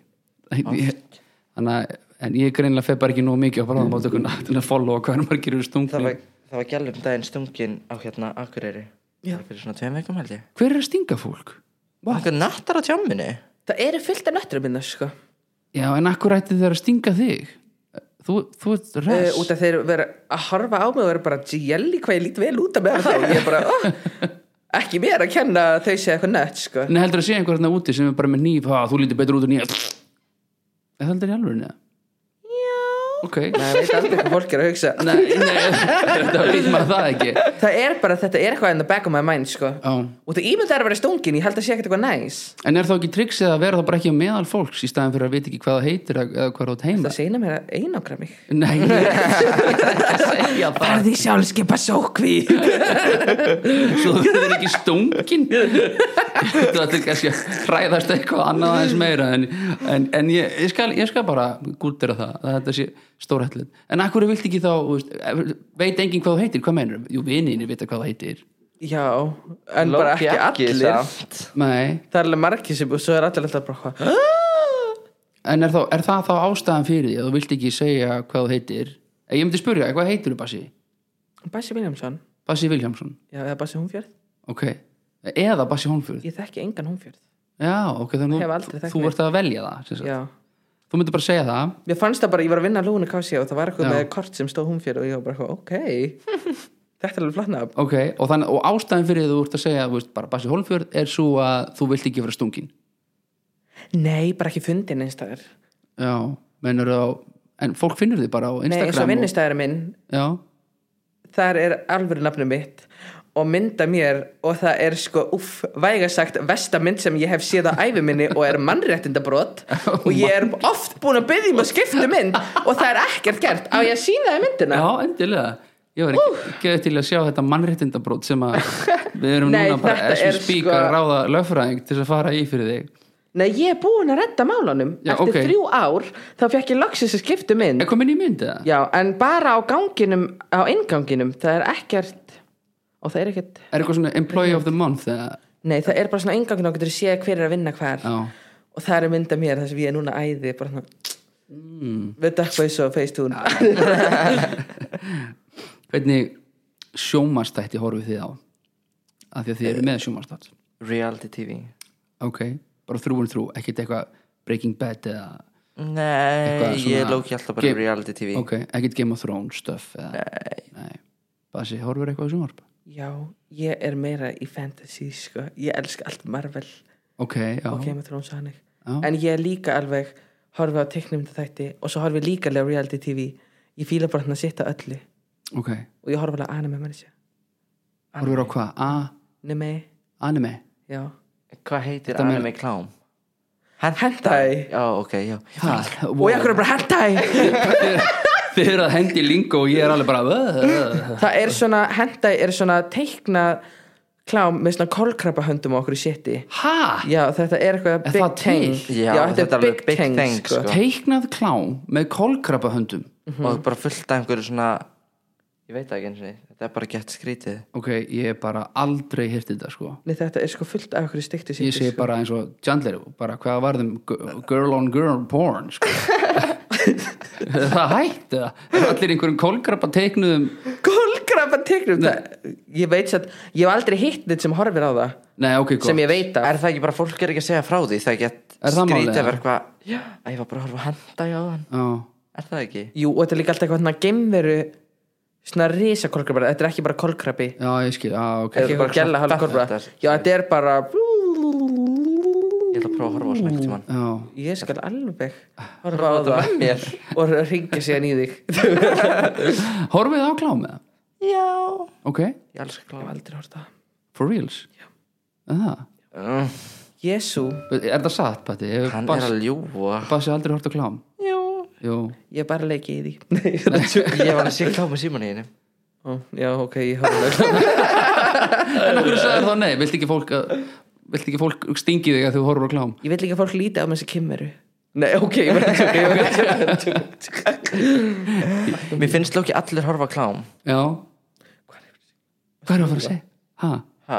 þannig að en ég greinlega feg bara ekki nóg mikið á bráðamóttökunna til að followa hvað er margir eru það stungni var, það var gælum daginn stungin á hérna Akureyri það var fyrir svona tveim veikum held ég hver er að stinga fólk? okkur nattar á tjáminu það eru fullt af nötturum minna sko já, en akkur ætti þeir að stinga þig þú, þú ert res uh, út af þeir vera að horfa á mig og vera bara jelly hvað ég lít vel út af með þá og ég bara, oh, ekki mér að kenna að þau sé eitthvað nött sko. en heldur að sé einhver þarna úti sem er bara með nýf ha, þú lítur betur út en ég er heldur í alveg neða? já ok, Nei, ég veit aldrei hvað fólk er að hugsa nei, nei þetta veit maður það ekki það er bara, þetta er eitthvað in the back of my mind sko. já út af ímyndar að vera stungin, ég held að sé ekkert eitthvað næs En er þá ekki triksið að vera þá bara ekki á meðal fólks í staðan fyrir að vita ekki hvað það heitir eða eða hvað það átt heima? það segna mér að einangra mig Nei, ég er ekki að segja það Barði sjálfskeipa sókví Svo þú verður ekki stungin Þú ættir kannski að hræðast eitthvað annað aðeins meira en, en, en ég, ég, skal, ég skal bara gútera það, að þetta sé stórhættilegt En akkur vilt ekki þá, þú veist, veit enginn hvað þú heitir, hvað meinur? Jú, vininir vita hvað þú heitir já, en bara ekki, allir samt. Nei, það er alveg margir sem, og svo er allir alltaf bara hvað en er, þá, er það þá ástæðan fyrir því að þú vilt ekki segja hvað þú heitir? Ég myndi spurja, hvað heitir þú, Bassi? Bassi Viljámsson, Bassi Vilhjámsson já, eða Bassi Húnfjörð ok, eða Bassi Holmfjörð ég þekki engan Húnfjörð, já, ok, þannig Hef að aldrei þú- þekkt þú mig. vart að velja það sem sagt. já þú myndir bara segja það Mér fannst það bara, ég var að vinna að lúna kási og það var eitthvað Já. með kort sem stóð hún fyrir og ég var bara, ok, þetta er alveg flatna ok, og, þannig, og ástæðan fyrir því þú vart að segja þú veist, bara Bassi Holmfjörð er svo að þú vilt ekki vera stungin Nei, bara ekki fundin einstæðar já, mennur á en fólk finnur því bara á Nei, eins og Instagram vinnustæðar minn, og, já, þar er alveg nafnum mitt og mynda mér og það er sko, uff, vægasagt vesta mynd sem ég hef séð á æfi minni og er mannréttindabrót Oh og ég er oft búin að byggja um að skipta um mynd og það er ekkert gert á ég að sína það myndina já, endilega ég var ekki geðið til að sjá þetta mannréttindabrót sem að við erum Nei, núna bara þetta as we er speak sko- að ráða lögfræðing til þess að fara í fyrir þig Nei, ég er búin að redda málunum Já, Eftir ok. þrjú ár, þá fekk ég loksins að skipta um mynd er komin í mynd eða? Já, en bara á ganginum, á innganginum, það er ekkert, og það er ekkert, er eitthvað svona employee of the month eða? nei, það er bara svona inngangin og getur séð hver er að vinna hver já, og það er mynda mér þar sem ég er núna æði, bara svona, mm. við dökfaðis og feistún. hvernig sjómanstætti horfið þið á af því að þið eru með sjómanstætt reality tv ok, bara þrúin þrú, ekkert eitthvað Breaking Bad eða nei, Eitthvað ég svona- lóki alltaf bara Ge- reality tv ok, ekkert Game of Thrones stuff eða, nei, nei. Basi, horfir eitthvað á sjónvarp Já, ég er meira í fantasy, sko, ég elska allt Marvel ok, já, og Game of Thrones og hannig, Já. en ég er líka alveg, horfi á teknum þætti og svo horfi ég líka alveg á reality tv, ég fíla bara hann að sitta öllu ok og ég horfi alveg að anime mannisja, horfir á hvað, A, anime, anime já, hvað heitir Þetta með- anime klám? hentai. já, ok, já það, og ég er bara hentai þið eru að hendi lingo og ég er alveg bara "Ugh, ugh." það er svona, hentai er svona teikna klám með svona kolkrabba höndum á okkur í seti ha, já, þetta er eitthvað Er big það thing til? Já, þetta er alveg big thing, sko. teiknað klám með kolkrabahöndum Mhm. og bara fullt af einhverju svona ég veit það ekki eins og þetta er bara gett skrítið ok, ég er bara aldrei hirtið þetta sko Nei, þetta er sko fullt af okkur í sko. stikti ég segi bara eins og Chandler bara hvað varðum g- girl on girl porn sko. Er það hætt eða? Er allir einhverjum kolkrabba teiknuðum kolkrabba teiknum það, ég veit satt, ég hef aldrei hitt neitt sem horfir á það nei ok, gott sem ég veit af er það ekki bara fólk er ekki að segja frá því það er gett Er það málið, skrítið að eða? vera eitthvað já, að ég var bara að horfa að henda í áðan Já. er það ekki? jú, og þetta er líka alltaf eitthvað svona gemveru svona risa kolkrabba, þetta er ekki bara kolkrabbi já, ég skil, já, ok ekki bara eitthvað gæla svona hálf kolkrabba þetta er- já, þetta er bara ég ætla að prófa að horfa á svona ekkert mann já. ég skal alveg Ah, horfa á það mér og ringja síðan í þig ég horfið á klám eða? já ok, ég elskar klám hef aldrei horta for reals Er það, Mm, Jésu er það satt Patti, hefur hann er Bas- að ljúa Bassi aldrei hort á klám Jú Jú, Ég er bara að leiki í því Nei, ég er að tjóka. Ég var að sé klá með síman í henni Ó, Já, ok, ég hafa en okkur sagði þá nei, vilt ekki fólk að vilt ekki fólk stingi þig að þú horfur á klám Ég vil líka að fólk líti á með þessi kimmeru Nei, ok, ég var að tjóka, ég var að tjóka, ég var að tjóka. Mér finnst lóki allir horfa á klám já, hvað er að fara að segja? ha, Ha,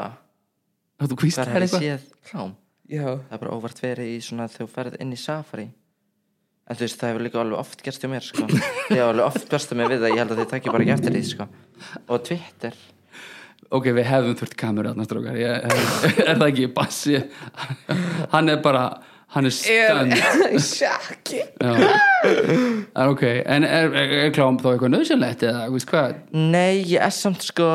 að þú kvist hvar hef ég séð klám? Já, Það er bara óvart verið í svona þegar þú ferð inn í safari En þú veist, það hefur líka alveg oft gerst hjá mér, sko Ég hef alveg oft gerst hjá mér við það, ég held að þið takja bara ekki eftir því, sko Og Twitter ok, við hefum þurft kameru þarna strókar ég, er, er það ekki bassi hann er bara, hann er stönd ég sjaki en ok, en er, er, er klám þá eitthvað nöðsynlegt eða, þú veist hvað Nei, ég er samt, sko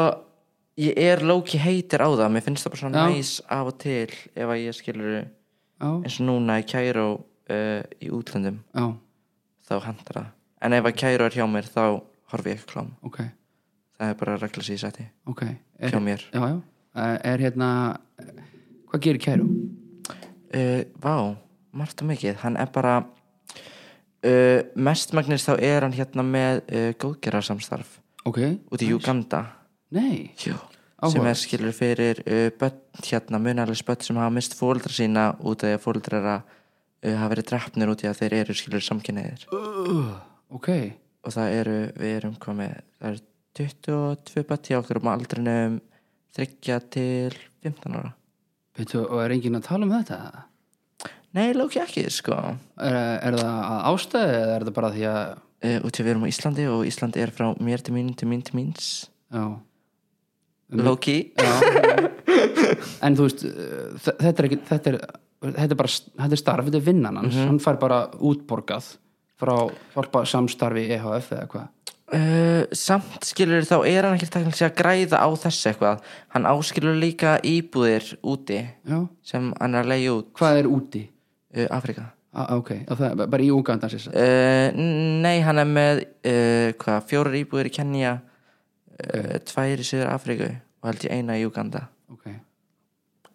Ég er lóki heitir á það, mér finnst það bara svona Já. næs af og til Ef að ég skilur já, eins og núna í Kæró uh, í útlöndum já, þá handar það en ef að Kæró er hjá mér þá horfi ég ekki á klám ok, það er bara regla sér í sæti ok er, hjá mér já, já, er hérna hvað gerir kæru? uh, Vá, margt og mikið hann er bara uh, mestmagnist þá er hann hérna með uh, góðgerarsamstarf ok, út í Uganda nei Jú. sem Áhugavert. er skilur fyrir uh, börn hérna, munarlegs börn sem hafa mist fóldra sína út af því að fóldrar uh, hafa verið drefnir út í að þeir eru skilur samkynniðir ok, og það eru, við erum komið það eru 22 bætt hjá okkur um aldrinum 30 til 15 ára veitu, og er enginn að tala um þetta? Nei, lóki ekki, sko uh, Er, er það að ástæði eða er það bara því að út í að Eh, við erum á Íslandi og Ísland er frá mér til mín til mín til míns já, Mhm. Lóki, já en þú veist eh, þe- þetta er ekki, þetta er þetta er bara, þetta er starf, þetta er vinnan hans hann fær bara útborgað frá hjálpa samstarfi EHF eða hvað uh, samt skilur þá er hann ekki tæknilega sér að græða á þessu eitthvað hann áskilur líka íbúðir úti já, sem hann er að leiða út hvað er úti? uh, Afrika Ah, ok, og það er bara í Uganda sér sagt. uh, Nei, hann er með uh, hvað, fjórar íbúðir í Kenya uh, tvær í Suður Afriku og held ég eina í Uganda ok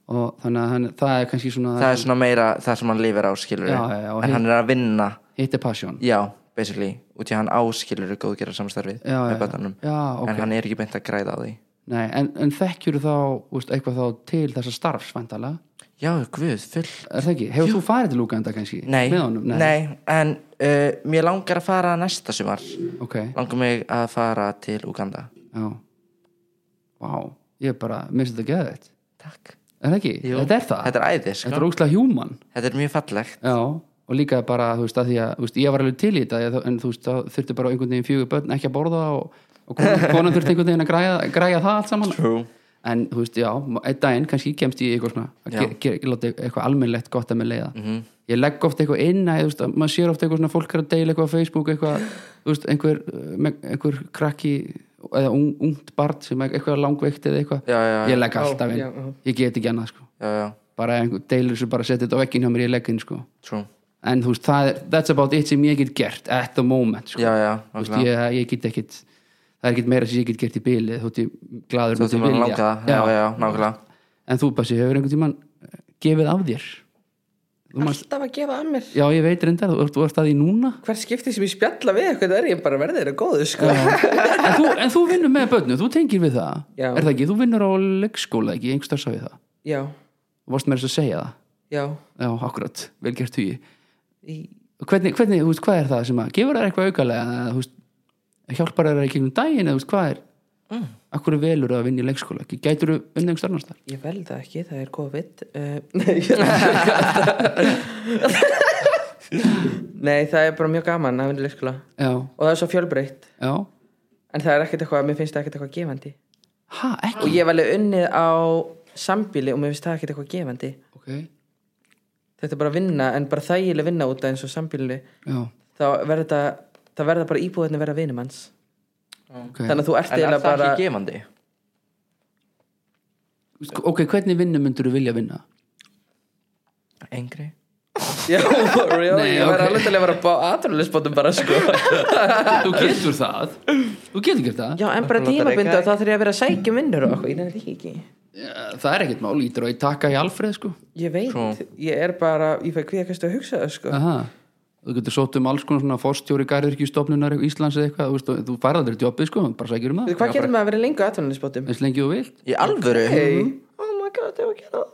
og þannig að hann, það er kannski svona það er svona meira það sem hann lifir á skilur Já, já, já, og en hann er að vinna hitt er passion já, basically, út í að hann áskilur góðgera samstarfið já, með já, bötunum já, ok. en hann er ekki beint að græða á því Nei, en, en þekkjur þá úst, eitthvað þá til þessa starfs væntalega, já, guð, full er það ekki? Hefur þú farið til Uganda kannski? nei, Með honum? Nei, en uh, mér langar að fara næsta sumar ok, langar mig að fara til Uganda já Vá, ég er bara, minnst þetta geðið takk, Er það ekki? Jú. Þetta er það? þetta er æði sko. Þetta er óslega human þetta er mjög fallegt Já, og líka bara, þú veist, að því að þú veist, ég var alveg til í þetta, ég- en þú veist, þá þurfti bara einhvern veginn fjögur börn ekki að borða og, og konan, konan þurfti einhvern veginn að græja, græja það allt saman True. En, þú veist, já, einn daginn kannski kemst ég í eitthvað svona, að ge- ge- láta eitthvað almennlegt gott að með leiða Mhm. -hmm. Ég legg oft eitthvað inn að, þú veist, að maður sér oft eitthvað svona fólk er að deila eitthvað á Facebook, eitthvað, þú veist, einhver, eh, með- einhver krakki eða ung, ungt barn sem er eitthvað langveikt eða eitthvað, Já, já, já. ég legg alltaf já, inn, já. ég get ekki annað, sko já, já, bara einhver deilur sem bara setja þetta á vegginn hjá mér í legginn sko. true en þú veist, það er, that's about it sem ég get gert at the moment sko. já, já, Þú veist, nákvæmlega. ég, ég get ekkit það er ekkit meira sem ég get gert í bíli þótt ég gladur þú ættum að langa það já, já, nákvæmlega en þú Bassi, hefur einhvern tímann eh, gefið af þér þú manst, Alltaf að gefa að mér já ég veit reyndar þú ert, þú ert að því núna Hver skipti sem ég spjalla við eitthvað er ég bara verðið þeirra góðu sko en þú, en þú vinnur með börnum, þú tengir við það Já. er það ekki, þú vinnur á leikskóla ekki, einhver starfsa við það Já, þú varst með þess að segja það, já já, akkurat vel gert hugi í, hvernig, hvernig, þú veist, hvað er það sem að gefur þær eitthvað aukalega eða, þú veist, hjálpar þær í gegnum daginn eða, þú veist, hvað er mm. akkur velur að vinna í leikskóla ekki, gætur þú unnið um starnast þar Ég vel það ekki, það er COVID uh, Nei ég er ekki- Nei, það er bara mjög gaman að vinna í leikskóla já, Og það er svo fjölbreytt já, En það er ekkert eitthvað, mér finnst það ekkert eitthvað gefandi ha, Og ekki ég hef alveg unnið á sambíli og mér finnst það ekkert eitthvað gefandi ok, Þetta er bara vinna, en bara þægileg vinna út af eins og sambíli já, Þá verður þetta, það verða bara íbúðinni verða vinum hans ok Þannig að þú ert en er eiginlega það bara ekki gefandi? Sk- ok, hvernig vinnu myndur þú vilja vinna engri? Já, for real, Nei, ég ok. verði alveg til að vera á aturlisbótum bara sko þú getur það, þú getur gert það Já, en bara Akkur notar tímabindu ekki. og þá þarf ég að vera að sækja um vinnur og okkur, ég nefnir því ekki Já, það er ekkert mál, ítur og ég taka í Alfreð sko Ég veit, Svo. ég er bara, ég fæ hví að að hugsa það sko aha, þú getur sótt um alls konar svona forstjóri garðirkjustofnunar Íslands eða eitthvað, þú veist, og þú farð aldrei jobbið sko, bara sækir um það, Hvað getur maður að vera lengi á atvinnulisbótum? eins lengi og þú vilt Í alvöru? Hey. Oh my god, ég var að gera það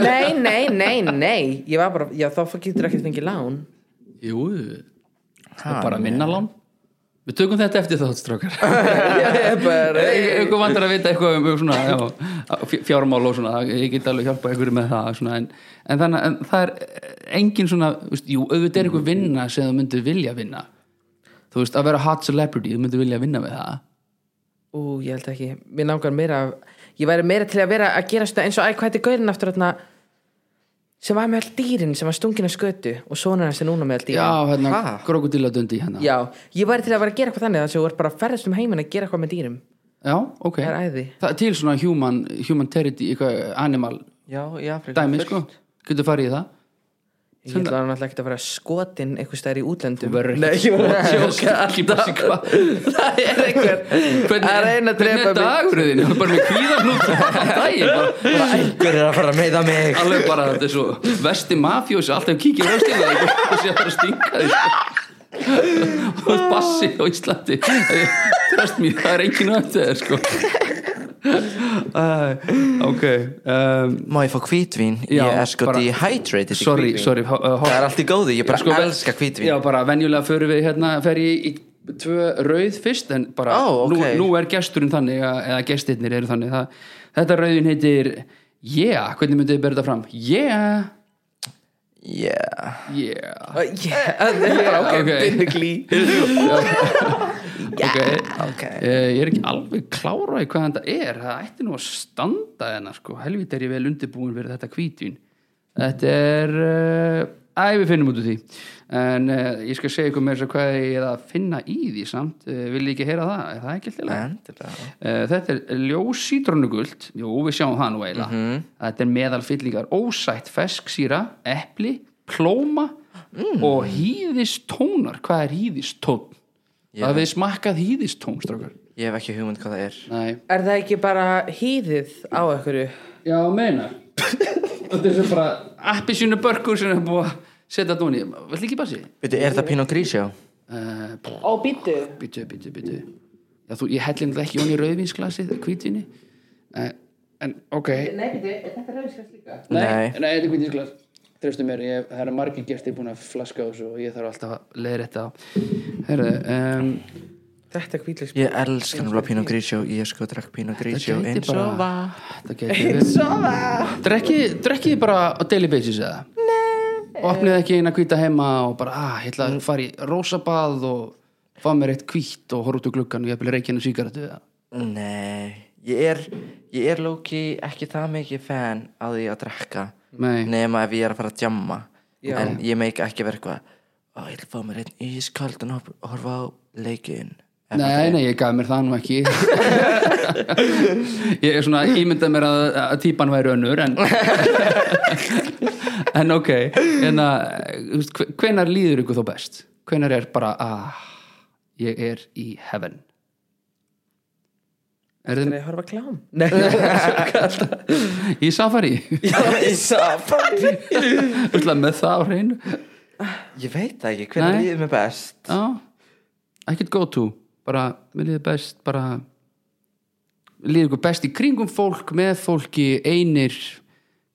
Nei, nei, nei, nei Ég var bara, já þá getur ekkert fengið lán Jú, það er bara minnalán Við tökum þetta eftir þátt, strákar Ég er bara Eitthvað vantar að vita eitthvað um, um svona já, fjá- fjármál og svona, ég get alveg hjálpa einhverju með það svona, en, en þannig en það er engin svona, þú veist, jú, auðvitað er eitthvað vinna sem þú myndir vilja vinna Þú veist, að vera hot celebrity, þú myndir vilja vinna með það Ú, ég held ekki, mér langar meira af- ég væri meira til að vera að gera svona eins og æ, hvað heitir gaurinn aftur þarna sem var með all dýrin sem var stungin að skötu og svona hans er núna með all dýrin Já, hérna, Ha? krokodíladundi hérna Já, ég væri til að vera að gera eitthvað þannig þess að þú ert bara að ferðast um heiminn að gera eitthvað með dýrum Já, ok Það er æði. Það er til svona human, human territory, eitthvað animal Já, í Afríku dæmi, sko Getur farið í það Ég ætla hann alltaf ekki að vera skotin eitthvað stær í útlöndum Þú verður ekki Nei, ég var að sjóka Það er einhver að reyna að drepa Hvernig er mig. dagurðin? Bara með kvíðarnút Dæin bara Einhver er að fara að meiða mig Alveg bara þetta er svo Vesti mafjós Alltaf kíkir á stíla Og sé að það er að stinga þig sko. Og bassi á Íslandi Tröst mér Það er enginn að þetta sko. Æ, Ok um, Má ég fá hvítvín? Já, ég er sko bara- dehydrated í Sorry, hvítvín. sorry ho- uh, ho- Það er allt í góðu, ég bara sko, vel- elska hvítvín Já, bara venjulega fyrir við hérna, fer ég í tvö rauð fyrst en bara, Ó, ok. nú, nú er gesturinn þannig að, eða gestirnir eru þannig það, þetta rauðin heitir Yeah, hvernig myndið þið berða fram? Yeah, Yeah yeah Það er bara ok, Ok. binnuglý ok, Ok. Eh, ég er ekki alveg klára í hvað þetta er, það ætti nú að standa hennar sko, helvit er ég vel undirbúin fyrir þetta hvítvín þetta er uh, æ, við finnum út úr því en uh, ég skal segja ykkur með þess að hvað ég er að finna í því samt, uh, vil ég ekki heyra það er það ekki alltaf Endilega Uh, þetta er ljós sítrónugult jú við sjáum það nú eiginlega þetta er meðalfyllingar ósætt fesksýra, epli, plóma og hýðistónar hvað er hýðistón? Yeah. Já. það við smakkað hýðistón strákar Ég hef ekki hugmynd hvað það er Nei. Er það ekki bara hýðið á einhverju? já meina þetta er sem bara appisínu börkur sem er búið að setja þetta dóni vill ekki bara sé Veitu, er það Pinot Grigio? uh, Ó, býttu bitu, bitu, bitu já, þú, ég hellir náttúrulega ekki í rauðvinsglasið hvítinni uh, en ok Nei, býttu, er þetta rauðskast líka? Nei, Nei. nei, þetta er kvítisglas Tröstu mér, ég, það eru margir gestir búin að flaska á þessu og ég þarf alltaf að leiða þetta á Herðu, um, Þetta er hvítlags Ég elska náttúrulega Pinot Grigio Ég sko drakk Pinot Grigio þetta eins gæti og bara Þetta gæti verið Drekkið drekki bara á daily basis eða? Nei Og opnið ekki eina hvíta heima og bara, ah, ég ætla að fara í rósabað og fá mér eitt hvít og horfa út úr gluggan og ég ætla reikinu sígarettu eða Nei Ég er, ég er Loki ekki það mikið fan á því að drakka Nei. Nema ef ég er að fara að djamma Já. En ég meik ekki verið eitthvað Ó, ég ætla að fá mér einn ískald og hop- horfa á leikin Nei, nei, ég gaf mér það nú ekki Ég er svona ímyndað mér að, að típan væri önnur en, en ok hérna, en að, hvenar líður ykkur þó best? Hvenar er bara ah, ég er í heaven Er Nei, þið horfa á klám Nei, í safari? ég sá Útla með það á hreinu Ég veit það ekki, hvernig Nei. líður mér best Já, ekkert go to bara, mér líður best bara mér líður ykkur best í kringum fólk, með fólki, einir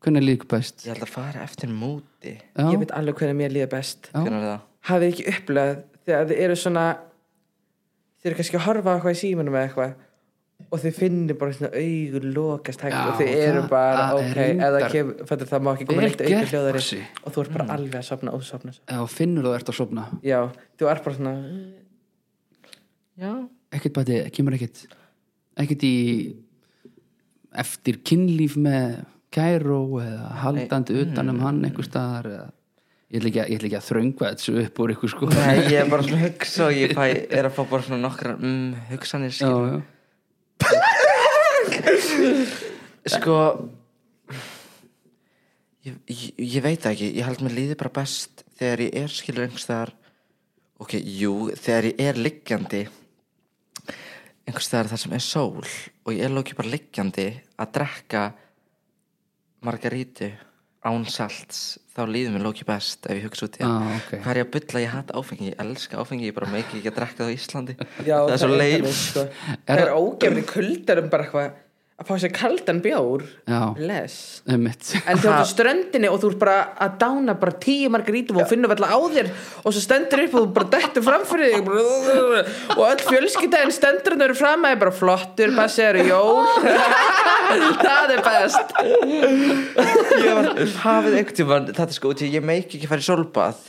hvernig líður ykkur best Ég ætla að fara eftir múti Já, Ég veit alveg hvernig mér líður best Já. Hvernig er það? Hafið ekki upplegað þegar þið eru svona þið eru kannski að horfa á eitthvað í símanum eða eitthvað og þið finnir bara svona augu lokast hægt Já, og þið eru það- bara það er ok, reyndar- eða kemur, fættu það má ekki koma Vel neitt auku gert, hljóðari Bassi. og þú ert bara alveg að sofna og sofna svo. eða finnur það ert að sofna Já, þú ert bara svona Já, ekkert bæti, kemur ekkert ekkert í eftir kynlíf með kæró eða haldandi utan Mm. um hann einhver staðar eða Ég ætla, ekki að, ég ætla ekki að þröngva þessu upp úr ykkur sko Nei, ég er bara svona að hugsa og ég fæ, er að fá bara svona nokkrar mm, hugsanir já, skil. já. Sko ég, ég, ég veit það ekki, ég held mér líði bara best þegar ég er skilur einhvers þar ok, jú, þegar ég er liggjandi einhvers þar þar sem er sól og ég er lóki bara liggjandi að drekka margarítu á án salts þá líður mér Loki best ef ég hugsa út í Ah, ok. hvað er ég að bylla, ég hata áfengi ég elska áfengi, ég bara meiki ekki að drekka það á Íslandi Já, það er svo leif þannig, sko. Það er ógefni kuldar um bara eitthvað að fá sér kaldan bjór Já. bless Einmitt. En þú ert á ströndinni og þú ert bara að dána bara tíu margarítum og finnum alltaf á þér og svo stendur upp og þú bara dettur framfyrir þig bara- og öll fjölskyldaðin stendur hann eru fram að þér bara flottur, passeru, jól Það er best ég var hafið einhvern tímann þetta er sko út í ég meiki ekki að fara í solbað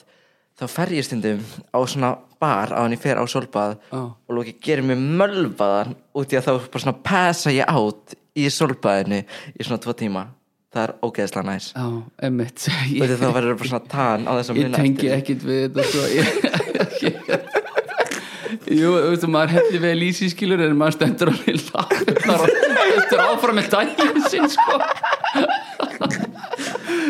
þá fer ég stundum á svona bar á hann ég fer á solbað Ó. og lóki gerir mig mölvaðan út í að þá bara svona passa ég átt í solbaðinu í svona tvo tíma það er ógeðslega næs Já, emmitt Þú Ég, veit þá verður það bara svona tan á þess að ég minna tengi eftir því. ekkit við þetta sko ég, Jú, þú veistu, maður hefði vel í sig skilur en maður stendur alveg látar og stendur áfram með daginn sinn sko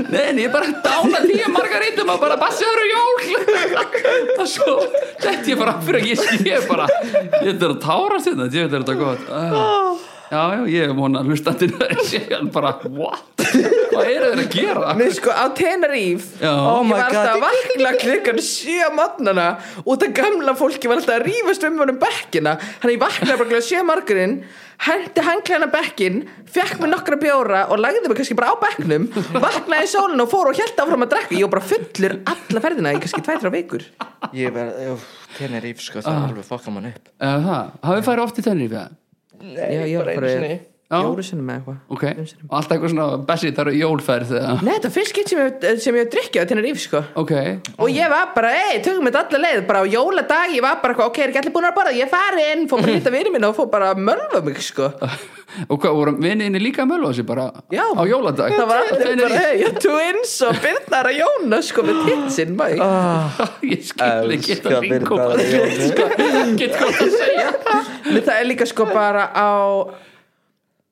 Nei, en ég er bara að dána tíu margarítum og bara bassaður og jól og svo þetta ég bara fyrir að ég sé bara ég ætla að tára sinna, ég ætla að þetta gott Ah. Já, já, ég er vona hlustandinn að sé hann bara, what? Hvað eru þeir að gera? Nei, sko, á Teneríf Já. Oh ég my var alltaf God. að vakna klukkan sjö á matnana og það gamla fólki var alltaf að rífast um honum bekkina hann ég vaknaði bara klukkan sjö morgunin hendi hanglæna bekkin fekk mér nokkra bjóra og lagði mig kannski bara á bekknum vaknaði í sólinu og fór og held áfram að drekka ég var bara fullur alla ferðina í kannski tvær, þrjá vikur Ég verður, tenni ríf sko, það er alveg fokka mann upp Eða það, hafið færið oft í tennir í það? Nei, Já, ég var bara sinni Já. fjóru sinni með eitthvað Ok, og alltaf eitthvað svona Bessi, það eru jólferð eða? Nei, þetta er fyrst skipt sem ég, sem ég drikkja á Teneríf sko Ok, og ég var bara, ei, tökum þetta alla leið bara á jóladag, ég var bara, eitthvað, ok, er ekki allir búin að borða ég er farin, fór bara að hitta vinið minna og fór bara að mölva mig, sko og hvað, voru vinninni líka að mölva sig bara Já. á jóladag? það var allir Tennur bara, í- ei, twins og byrnar að jóna, sko, með titsinn, mæg Ah. Ég skil ekki Elska þetta ringum Birna að Get hvað það segja en það er líka sko bara á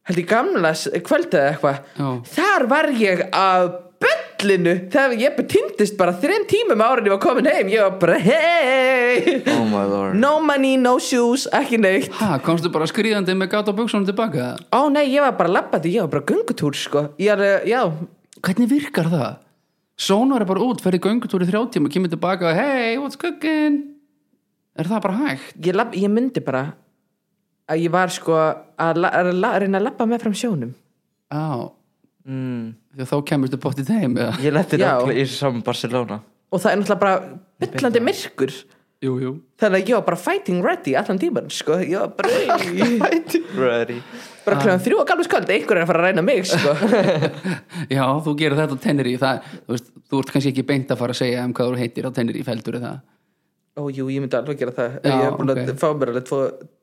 held ég gamla s- kvöldið eða Já. eitthvað þar var ég að böllinu þegar ég betýndist bara þrein tímum árin ég var komin heim, ég var bara, hei Oh my lord no money, no shoes, ekki neitt Ha, komstu bara skrýðandi með gata og buksunum tilbaka? Ó nei, ég var bara labbandi, ég var bara göngutúr sko Ég er, eh, já, Hvernig virkar það? Sónar er bara út, ferði göngutúri þrjá tíma kemur tilbaka og hey, what's cooking? Er það bara hægt? ég, lab, ég myndi bara að ég var sko að, la, að la, reyna að labba með fram sjónum Já, mm. því að þá kemurstu bótt í þeim eða? Ég leti Já. nafnlega í saman Barcelona og það er náttúrulega bara byllandi myrkur Jú, jú þannig að ég var bara fighting ready allan tíman sko, ég var bara Ready bara Ah. kljóðan þrjú og gamlu sköld, einhver er að fara að ræna mig sko Já, þú gerir þetta á Tenerife það, þú, veist, þú ert kannski ekki beint að fara að segja um hvað þú heitir á Tenerife heldur það Ó jú, ég myndi alveg gera það Já, Ég er búin að ok. fá mér alveg tvo,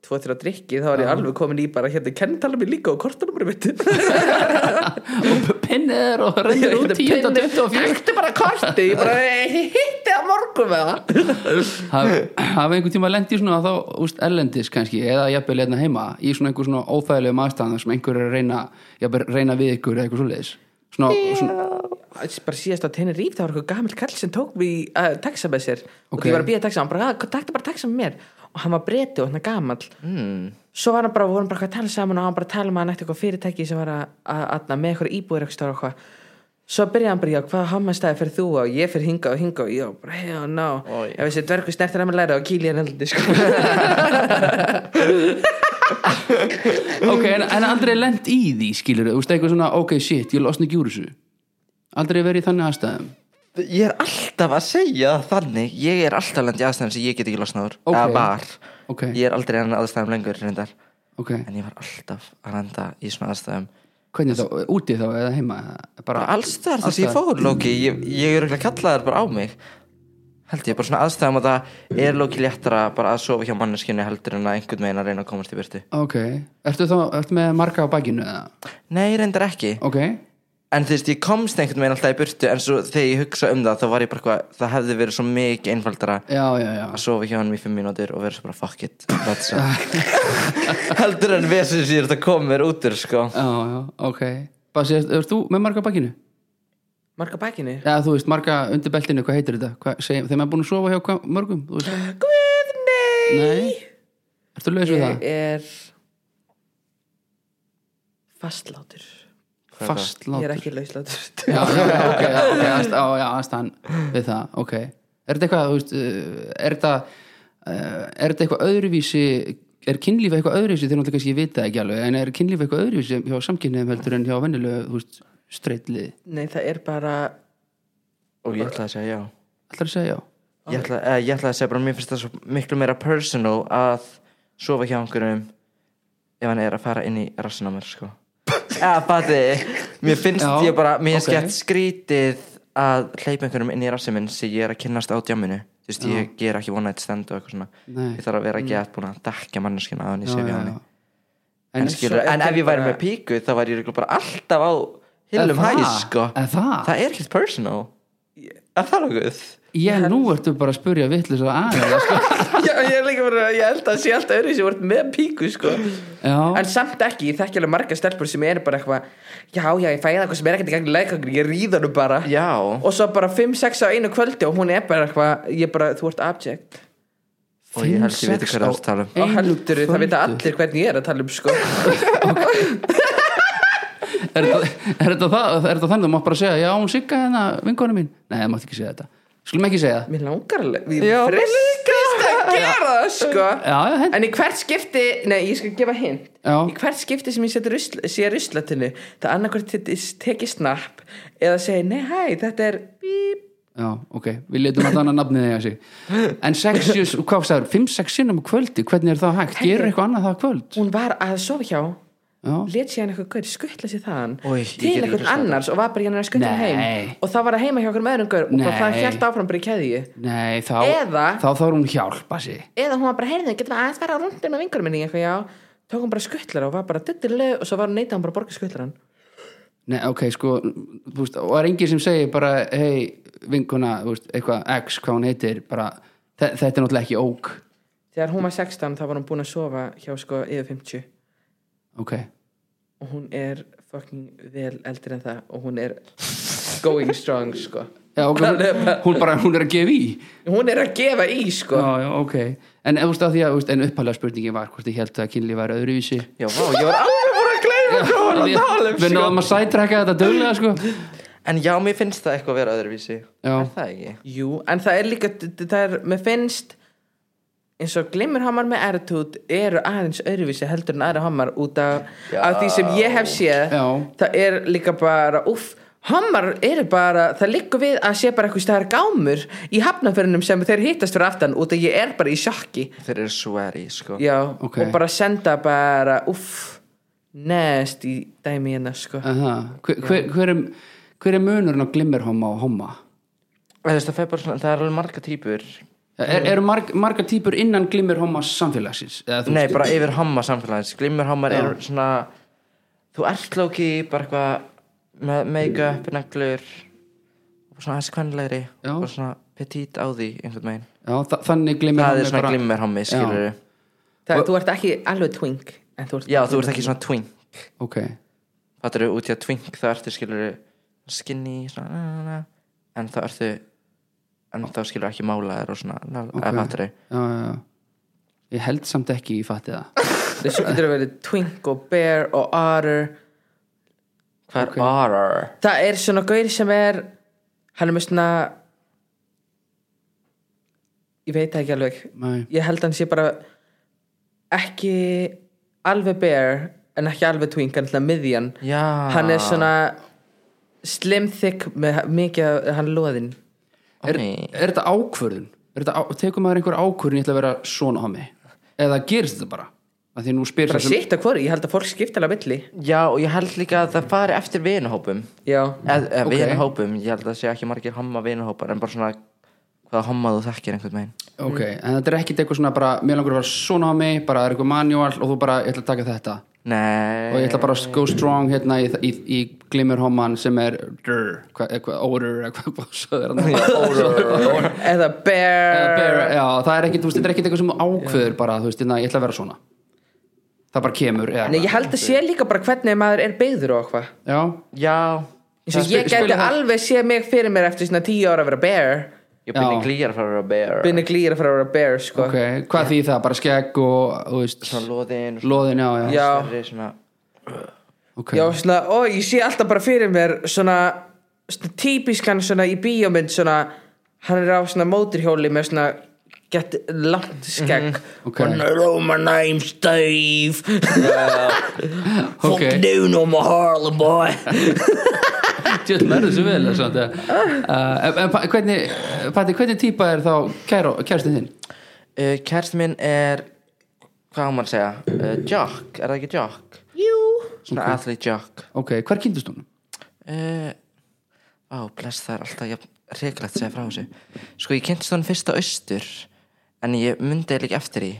tvo þrjá drikki þá er ég alveg komin í bara hérna kennitala mér líka og kortanumri mitt og pinnir og rendir hérna út 10. og 24 Hættu bara korti, ég bara hitti á morgun með það hafa einhvern tíma lendi svona þá úst, erlendis kannski eða jafnvel hérna heima í svona einhver svona óþægilegum aðstæðan þar sem einhver er að reyna jafnvel reyna við ykkur eða eitthvað svoleiðis svona, svona, bara síðast á Teneríf það var eitthvað gamil kall sem tók mig í uh, taxa með sér og Ok. ég var að býja taxa hann bara, "Ah, takta bara taxa með mér og hann var breyti og hann er gamall mm. svo var hann bara, vorum bara eitthvað að tala saman og hann bara að tala um að hann eftir eitthvað fyrirtæki sem var að, að, að með eitthvað íbúður eitthvað stór og eitthvað svo byrjaði hann bara, já, hvað hammastæði fyrir þú á ég fyrir hinga og hinga og já, bara, hei og ná Oj. ef þessi dvergu snertir að mér læra og kýli hann heldur sko. ok, en, en aldrei lend í því skilur þú, veist, eitthvað svona, ok, shit, ég losna ekki úr þessu aldrei verið í þannig aðstæðum Ég er alltaf að segja það þannig Ég er alltaf lent í aðstæðan sem ég get ekki losnaður Ok. Eða var ok, Ég er aldrei enn aðstæðum lengur reyndar ok, En ég var alltaf að lenda í svona aðstæðum hvernig þá, úti þá eða heima eða bara, Alls þar þar sem ég Allstaðar. fór Loki Ég, ég er ekki að kalla þær bara á mig Held ég bara svona aðstæðum að það er Loki léttara bara að sofa hjá manneskinu heldur en að einhvern veginn að reyna að komast í byrtu ok, ertu þá ertu með marga á bakinu eða, Nei, reyndar ekki ok En þú veist, ég komst einhvern veginn alltaf í burtu En svo þegar ég hugsa um það, þá var ég bara hvað Það hefði verið svo mikið einfaldara já, já, já, Að sofa hjá hann í fimm mínútur og vera svo bara fuck it That's it Heldur en vesins ég er þetta komir út úr, sko já, já, ok Basi, ert, ert þú með marga á bakinu? marga bækinni Já, þú veist, marga undir beltinu, hvað heitir þetta? Hvað, segjum, þegar maður er búin að sofa hjá hvað, mörgum? Þú veist, Guð, nei nei Ertu laus við það? ég er fastlátur fast Ég er látur ekki lauslátur já, já, já, ok, já, ok, aðst- á, já, aðstæðan við það, ok er þetta eitthvað, þú veist, uh, er þetta uh, er þetta eitthvað öðruvísi er kynlíf eitthvað öðruvísi þegar náttúrulega kannski ég vita það ekki alveg, en er kynlíf eitthvað öðruvísi hjá samkynniðum heldur en hjá venjulegu, þú veist, streitliði Nei, það er bara og ég ætla að segja já ætlar að segja já, ég ætla, eh, ég ætla að segja bara mér finnst það svo miklu meira personal að sofa hjá einhverjum ef hann er að fara inn í rassin á mér sko eða fati mér finnst Já, ég bara mér ok. finnst okay. skrítið að hleypa einhverjum inn í rassin minn sem ég er að kynnast á djáminu þú veist ég ger ekki one night stand og eitthvað svona Nei. Mm. ég þarf að vera gett búin að dekka manneskina að hann ég já, sé við já, hann já. en, En skilur, svo er en ef ég væri bara- með píku þá væri ég örugglega bara alltaf á Er hillum það? hæ sko Er það? það er ekkert personal er það nokkuð? ég, nú ertu bara að spurja vitlis að aðeins sko. Já, ég er líka bara, ég held að sé alltaf öðru sem voru með píku, sko já, En samt ekki, ég þekki alveg marga stelpur sem er bara eitthvað Já, já, ég fæði eitthvað sem er ekkert í gangi leikangri, ég ríða nú bara já Og svo bara 5-6 á einu kvöldi og hún er bara eitthvað Ég bara, þú ert abject og ég held ég veit Fimm, hvað það er sex að tala á- um Og Einu heldur, það kvöldi. vita allir hvernig ég er að tala um, sko er þetta- er þetta það- er þetta þannig þú mátt bara segja, já, hún sigga hérna vinkonu mín, nei, það mátt ekki segja þetta skulum ekki segja það Mér langar alveg, við Já, mér fristist að gera það, sko já, já, hent- En í hvert skipti, nei, ég skal gefa hint Já. Í hvert skipti sem ég seti rusl, sé ruslatinu Það annarkvært teki snapp Eða segi, nei, hæ, þetta er bíp já, ok, við letum að annað nafnið eiga sig en sexjus, hvað sagður, 5-6 sinnum á kvöldi, hvernig er það hægt gerur eitthvað annað það á kvöld Hún var að sofa hjá já, let sér hann eitthvað gaur skuttla sér þaðan Oj, ég til get ekki um eitthvað hlustað á annars og var bara hérna að skuttla hann Nei. heim og þá var það heima hjá okkur með öðrum gaur og bara Nei. það hjælt áfram bara í keðju nei, þá Eða- þá þarf hún hjálpa sig eða hún var bara, heyrðu, getur maður aðeins fara á rundin með vingur minni eitthvað, já, tók hún bara skuttlar og var bara duttileg og svo var hún neitað hún bara að borga skuttlaran nei, ok, sko, þú veist, og er engin sem segir bara, hei, vinkona þú veist, eitthvað, X, hvað hún heitir bara, þe- þetta er náttúrulega ekki ók þegar hún var 16 þá var hún búin að sofa hjá sko yfir 50 ok, og hún er fucking vel eldri en það og hún er going strong sko já, ok hún, hún bara, hún er að gefa í hún er að gefa í sko Já, já, ok. En, þú veist, að því að, þú veist, en upphæðlega spurningin var hvort ég held að kynlíf væri öðruvísi. já, vá, ég var alveg búin að gleyma hvað hún var að Við- tala um Við sko. náðum að sætrekka þetta dögulega, sko. en já, mér finnst það eitthvað að vera öðruvísi Já. er það ekki? Jú, en það er líka það er, mér finnst eins og glimmerhamar með attitude eru aðeins öðruvísi heldur en aðra hamar út af, af því sem ég hef séð Já. það er líka bara, uff Hammar eru bara, það liggur við að sé bara eitthvað staðar gámur í hafnafyrunum sem þeir hittast fyrir aftan út að ég er bara í sjokki þeir eru sweary sko. Já, Ok. og bara senda bara, uff, neðst í dæmi hérna Eh, sko Aha. Hver, hver, hver, er, hver er munurinn á glimmerhomma og homma? það, það, fer bara svona, það er alveg marga típur Er, eru marg, margar típur innan glimmerhomma samfélagsins? Eða, þú nei, veist- bara yfir homma samfélags glimmerhammar eru svona þú ert lóki, bara eitthvað með make-up, neglur og svona aðeins kvenlegri Já. og svona petit á því einhvern veginn Já, þa þannig glimmerhomma það er svona glimmerhammi, skilur það, Þú ert ekki alveg twink en þú ert já, þú ert ekki svona twink Ok, Það eru út í að twink, það ertu skilur skinny, svona na, na, na, en það ertu en þá skilur ekki mála þér og svona na, okay. ef það eru já, já, já. Ég held samt ekki, ég fatti það. Þess að getur það verið twink og bear og otter Hvað er horror? Það er svona gaur sem er Hann er með svona Ég veit það ekki alveg Nei. Ég held hann sé bara Ekki alveg bear En ekki alveg twink, hann er svona miðjan Já, Hann er svona Slim thick með mikið af- Hann er loðinn Er, Nei. er þetta ákvörðun? Er þetta á, tekur maður einhver ákvörðun ég ætla að vera svona hommi? Eða gerist þetta bara? Að því nú spyr Bara sem- sitt að hvori, ég held að fólk skipta alveg milli já, og ég held líka að það fari eftir vinuhópum Já, eða eð, Ok. vinuhópum, ég held að það sé ekki margir homma vinuhópar, en bara svona hvaða homma þú þekkir einhvern veginn Ok, en þetta er ekkit eitthvað svona bara, mér langur að vera svona á mig, bara er eitthvað manual og þú bara, ég ætla að taka þetta og Nei, ég ætla bara að go strong hérna í, í, í glimmerhomman sem er eh, drr, hvað, eitthvað, odor, eitthvað bósað er hann Eh, horror eða bear, Já, það er ekkit, þú veist, þetta er ekkit eitthvað sem þú ákveður bara, þú veist, hérna, ég ætla að vera svona það bara kemur, eða Nei, ég held að sé líka bara hvernig maður er beigður og hvað Já, Já, eins og ég spila gæti það. alveg séð mig fyrir mér eftir svona tíu ára að vera bear ég byrni Já. glýjar frá að bear Binni glýra frá að vera bear sko. ok, hvað því það, bara skegg og, þú veist, Svona loðin, loðin, já, já Já. sverri, svona ok, Já, svona, ó, ég sé alltaf bara fyrir mér svona, svona típiskan svona í bíómynd svona, hann er á svona móturhjóli með svona gett langt skegg Ok. og hann er oh my name's Dave fuck Ok. you no more Harlem boy Djöfull, verður þessu vel þessu, þetta. uh, en- en Pa- hvernig, Patti, hvernig típa er þá kæro, kærstinn þinn? uh, Kærst minn er Hvað á maður að segja? Uh, jock, er það ekki jock? Jú Svona okay. athlete jock ok, hver kynntust hún? uh, Á, bless það er alltaf jafn, Reglegt segja frá þessu Sko ég kynntist honum fyrst á austur En ég myndi eiginlega ekki eftir því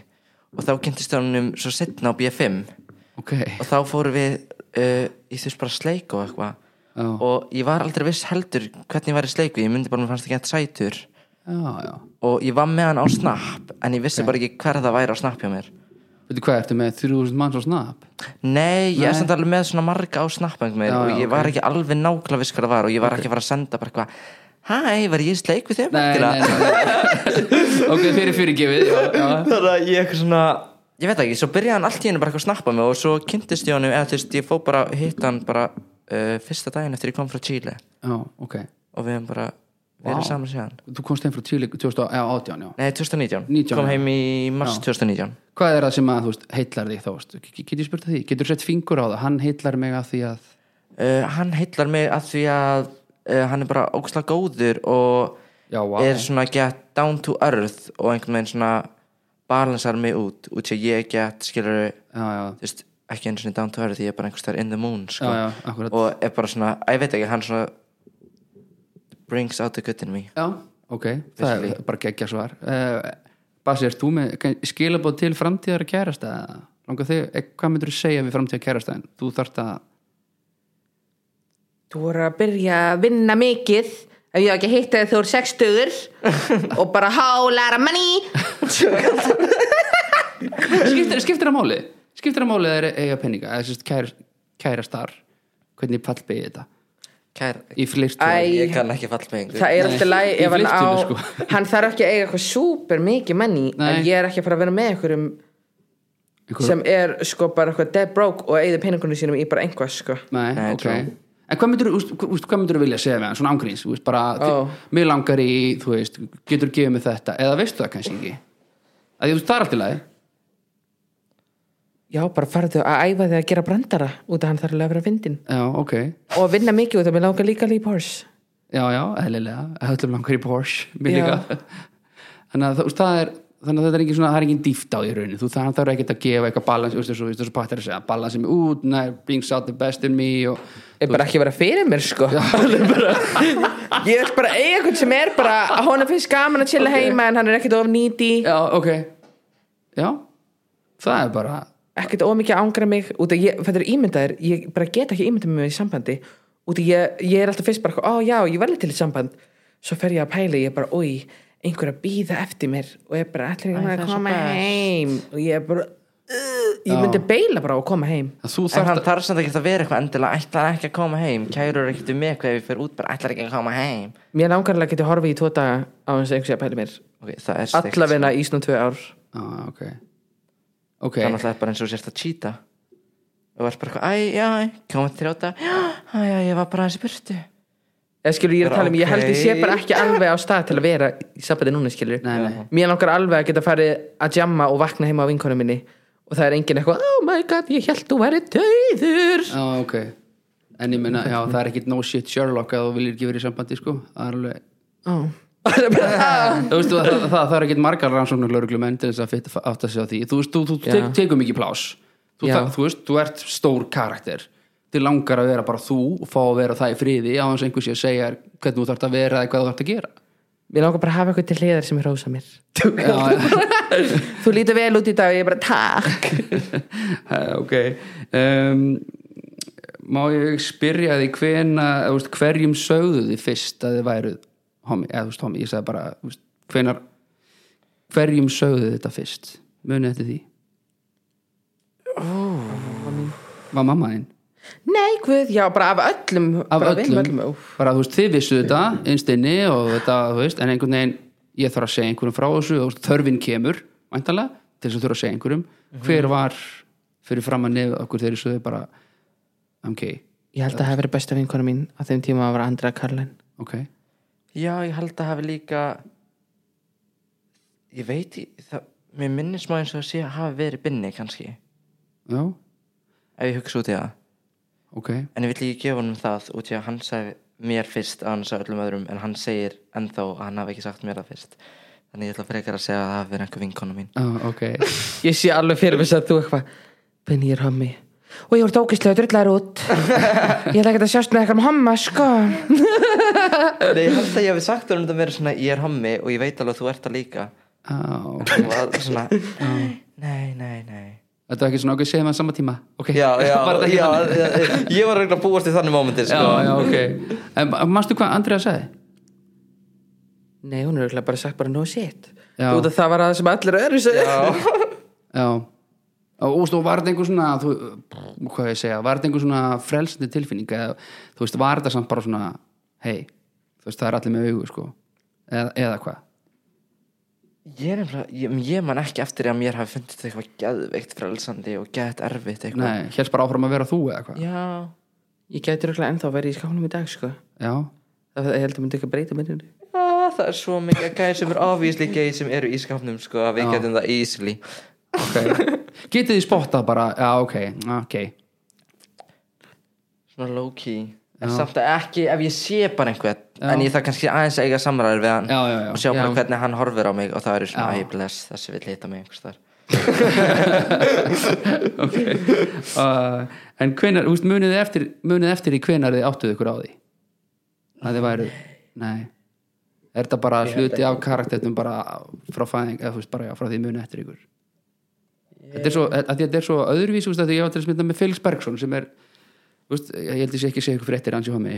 Og þá kynntist honum svo setna á B5 ok, Og þá fórum við uh, Ég þurfti bara að sleik og eitthvað já, Og ég var aldrei viss heldur hvernig ég var í sleiku Ég myndi bara að mér fannst það gett sætur já, já og ég var með hann á Snap en ég vissi bara ekki hver það væri á Snap hjá mér veitu hvað, ertu með 3000 manns á snap? Nei, ég Nei. er samt alveg með svona marga á Snap hjá mér Já, já, og ég ok. var ekki alveg nákvæmlega viss hver það var og ég var ekki að fara að senda bara eitthvað Hæ, var ég í sleik við þig? nei, nei, merkilega?" nei, nei. ok, fyrir fyrirgefið já, já. Þannig að ég eitthvað svona Ég veit ekki, svo byrjaði hann allt í henni bara eitthvað að snappa mig og svo kynntist ég honum, eða þú veist, ég fó bara að hitta hann bara uh, fyrsta daginn eftir ég kom frá Chile já, ok og við hefum bara verið saman síðan þú komst heim frá Chile 2018, já Nei, 2019, 19, kom já. heim í mars 2019 hvað er það sem að, þú veist, heillar þig þá veist? Get- getur ég spurt að því, getur sett fingur á það hann heillar mig að því að uh, hann heillar mig að því að uh, hann er bara ógslag góður og já, wow. er svona gett down to earth og einhvern veginn svona balansar mig út út sem ég gett skilur já, já, veist, ekki einu svona down to earth ég er bara einhvers þar in the moon sko. Já, já, akkurat. og er bara svona, að ég veit ekki hann svona brings out the good in me já, ok það er bara geggja svar uh, Basi, erst þú með kann- skilaboð til framtíðar kærasta langar þig, eh, hvað myndur þú segja við framtíðar kærasta þú þarft að, Þú voru að byrja að vinna mikið ef ég á ekki að hitta þig þú eru sextugur og bara hálæra money skiptir, skiptir að máli skiptir að máli að það er eiga peninga eða sérst kær, kærastar hvernig pall beigði þetta Kær, í flirt Æ, ég kann ekki fall með einhver Það er Nei, alltaf læg í ef hann á flirtinu, sko. Hann þarf ekki að eiga eitthvað súper mikið menni Nei. En ég er ekki að fara að vera með einhverjum Einhver- Sem er sko bara eitthvað dead broke Og eigði peningunum sínum í bara einhvað sko Nei, Nei, ok trú. En hvað myndur, úst, úst, hvað myndur vilja segja við hann, svona ángríns, þú veist, bara, Ó. oh. mig langar í, þú veist, getur gefið mig þetta, eða veistu það kannski ekki? Að því, þú veist, það er allt í lagi. Já, bara farðu að æfa þig að gera brandara Út af hann þarf alveg að vera fyndin Já, ok, Og að vinna mikið út af mig langar líka líf hors já, já, eðlilega, höllum langar í Porsche, mér Já. líka. Þannig að, þú veist, það er, þannig að þetta er engin svona, það er engin dýft á í rauninu, þú þarf, þarf ekkert að gefa eitthvað balans, þú veist, þú veist, þú veist, þú veist, balans sem út, nei, brings out the best in me og, Er bara ekki að vera fyrir mér sko Alveg bara- Ég vil bara eiga eitthvað sem er bara að Honum finnst gaman að chilla heima En hann er ekkit of nýti já, ok, já, það er bara, ekkert ómikið að ángra mig út að ég, þetta er ímyndaðir, ég bara get ekki ímyndað mig í sambandi út að ég, ég er alltaf fyrst bara, ó já, ég verði til í samband svo fer ég að pæla, ég er bara, oi einhver að býða eftir mér og ég er bara allir ekki að koma heim og ég er bara, uh, ég myndi beila bara og koma heim að þú En þarft hann þarf samt ekki að vera eitthvað endilega ætlar hann ekki að koma heim, kærur ekkert um mig hvað ef ég fer út bara ætlar ekki að koma heim mér langarlega geti horfið í tvo daga á hans einhversi að pæla mér okay, Það er steikt allavegna í svona tvö ár ah, ok ok, Þannig að það er bara eins og þú sért að cheata og er bara eitthvað, æ, já, æ, komið þrjóta já, æ, já, ég var bara aðeins í burtu eða skilur ég er að tala um, ég held ég sé Ok. bara ekki alveg á stað til að vera í sambandi núna skilur Nei, nei. mér langar alveg að geta farið að jamma og vakna heima á vinkonu minni og það er engin eitthvað, oh my god, ég held þú væri döður já, ok en ég meina, já, það er ekkit no shit Sherlock að þú viljir ekki verið í sambandi, sko það er alveg, oh. þú veist, það, það, það er ekkit margar rannsóknar lauruglumenn til þess að fitta- átta sig á því þú veist, þú, þú tek, tekur mikið plás þú, Já. það, þú veist, þú ert stór karakter þið langar að vera bara þú og fá að vera það í friði á hans einhversi að segja þér hvernig þú þarft að vera eða hvað þú þarft að gera mér langar bara að hafa eitthvað til hliðar sem hrósa mér já, já þú lítur vel út í dag og ég er bara takk Eh, ok um, má ég spyrja því hvena, þú veist, hverjum sögðu þið fyrst að þið væru homi, eða þú veist homi, ég sagði bara þú veist, hvenar, hverjum sögðu þið þetta fyrst munið eftir því var mamma þín nei guð, já, bara af öllum af bara öllum, öllum. Úff. bara þú veist þið vissu þetta einstinni og þetta þú veist, en einhvern veginn, ég þarf að segja einhverjum frá þessu og þörfin kemur, væntanlega Mhm. til þess að þurfa að segja einhverjum, hver var fyrir fram að nefð okkur þegar þið sögðu bara I'm gay Ég held að það hefði verið besta vinkona mín á þeim tíma að vera Andra Karlin ok, Já, ég held að hafi líka Ég veit í- það, Mér minnir smá eins og að sé að hafi verið binni kannski Ef já, ég hugsa út í það ok En ég vill ekki gefa honum það út í að hann sagði mér fyrst að hann sagði öllum öðrum en hann segir ennþá að hann hafi ekki sagt mér það fyrst Þannig ég ætla frekar að segja að það hafi verið einhver vinkona mín ah, ok, Ég sé alveg fyrir þess að þú eitthvað Benny er hommi Og ég voru tókislega drullar út Ég ætla ekki að sjást með eitthvað um homma sko Nei, ég held að ég hafi sagt honum þetta verið svona ég er hommi og ég veit alveg að þú ert það líka ah, ok og að svona Nei, nei, nei Þetta var ekki svona okkur segjum að sama tíma okay. Já, já, Var þetta já, ekki þannig? já, ég var eiginlega að búast í þannig mómentin já, sko. já, ok En manstu hvað Andrea sagði? Nei, hún er örugglega bara sagt bara no shit Já. Út af það var að sem allir öðru segja Já Og úst, og var þetta einhver svona þú, hvað ég segja, var þetta einhver svona frelsandi tilfinning eða þú veist, var þetta samt bara svona hei, þú veist, það er allir með augu sko, eða, eða hvað Ég er nefnilega, ég, ég man ekki eftir að mér hafi fundið eitthvað geðveikt frelsandi og geðt erfitt eitthvað Nei, helst bara áfram að vera þú eða hvað Já, Ég gæti örugglega ennþá verið í skálanum í dag sko Já, Það ég held að myndi ekki að breyta hérna. minni já, það er svo mikið gæði sem er obviously gæði sem eru í skapnum sko að við getum það easily ok Getið þið spottað bara, já, ok, ok Svona low key En samt að ekki ef ég sé bara einhvern En ég þarf kannski aðeins að eiga samræður við hann Já, já, já. Og sjá Já. bara hvernig hann horfir á mig Og það eru svona, æ, bless, þessi vill hita mig einhvers þar ok uh, en hvenar, úst, munið þið eftir munið eftir í hvenar þið áttuð ykkur á því að þið væru nei, er þetta bara hluti af karaktertum bara frá fæðing eða þú veist bara já, frá því munið eftir ykkur þetta er svo, að því að þetta er svo öðruvís úst, að því ég var til að smynda með Felix Bergson sem er, úst, ég held ég sé ekki að segja ykkur fréttir hans í homi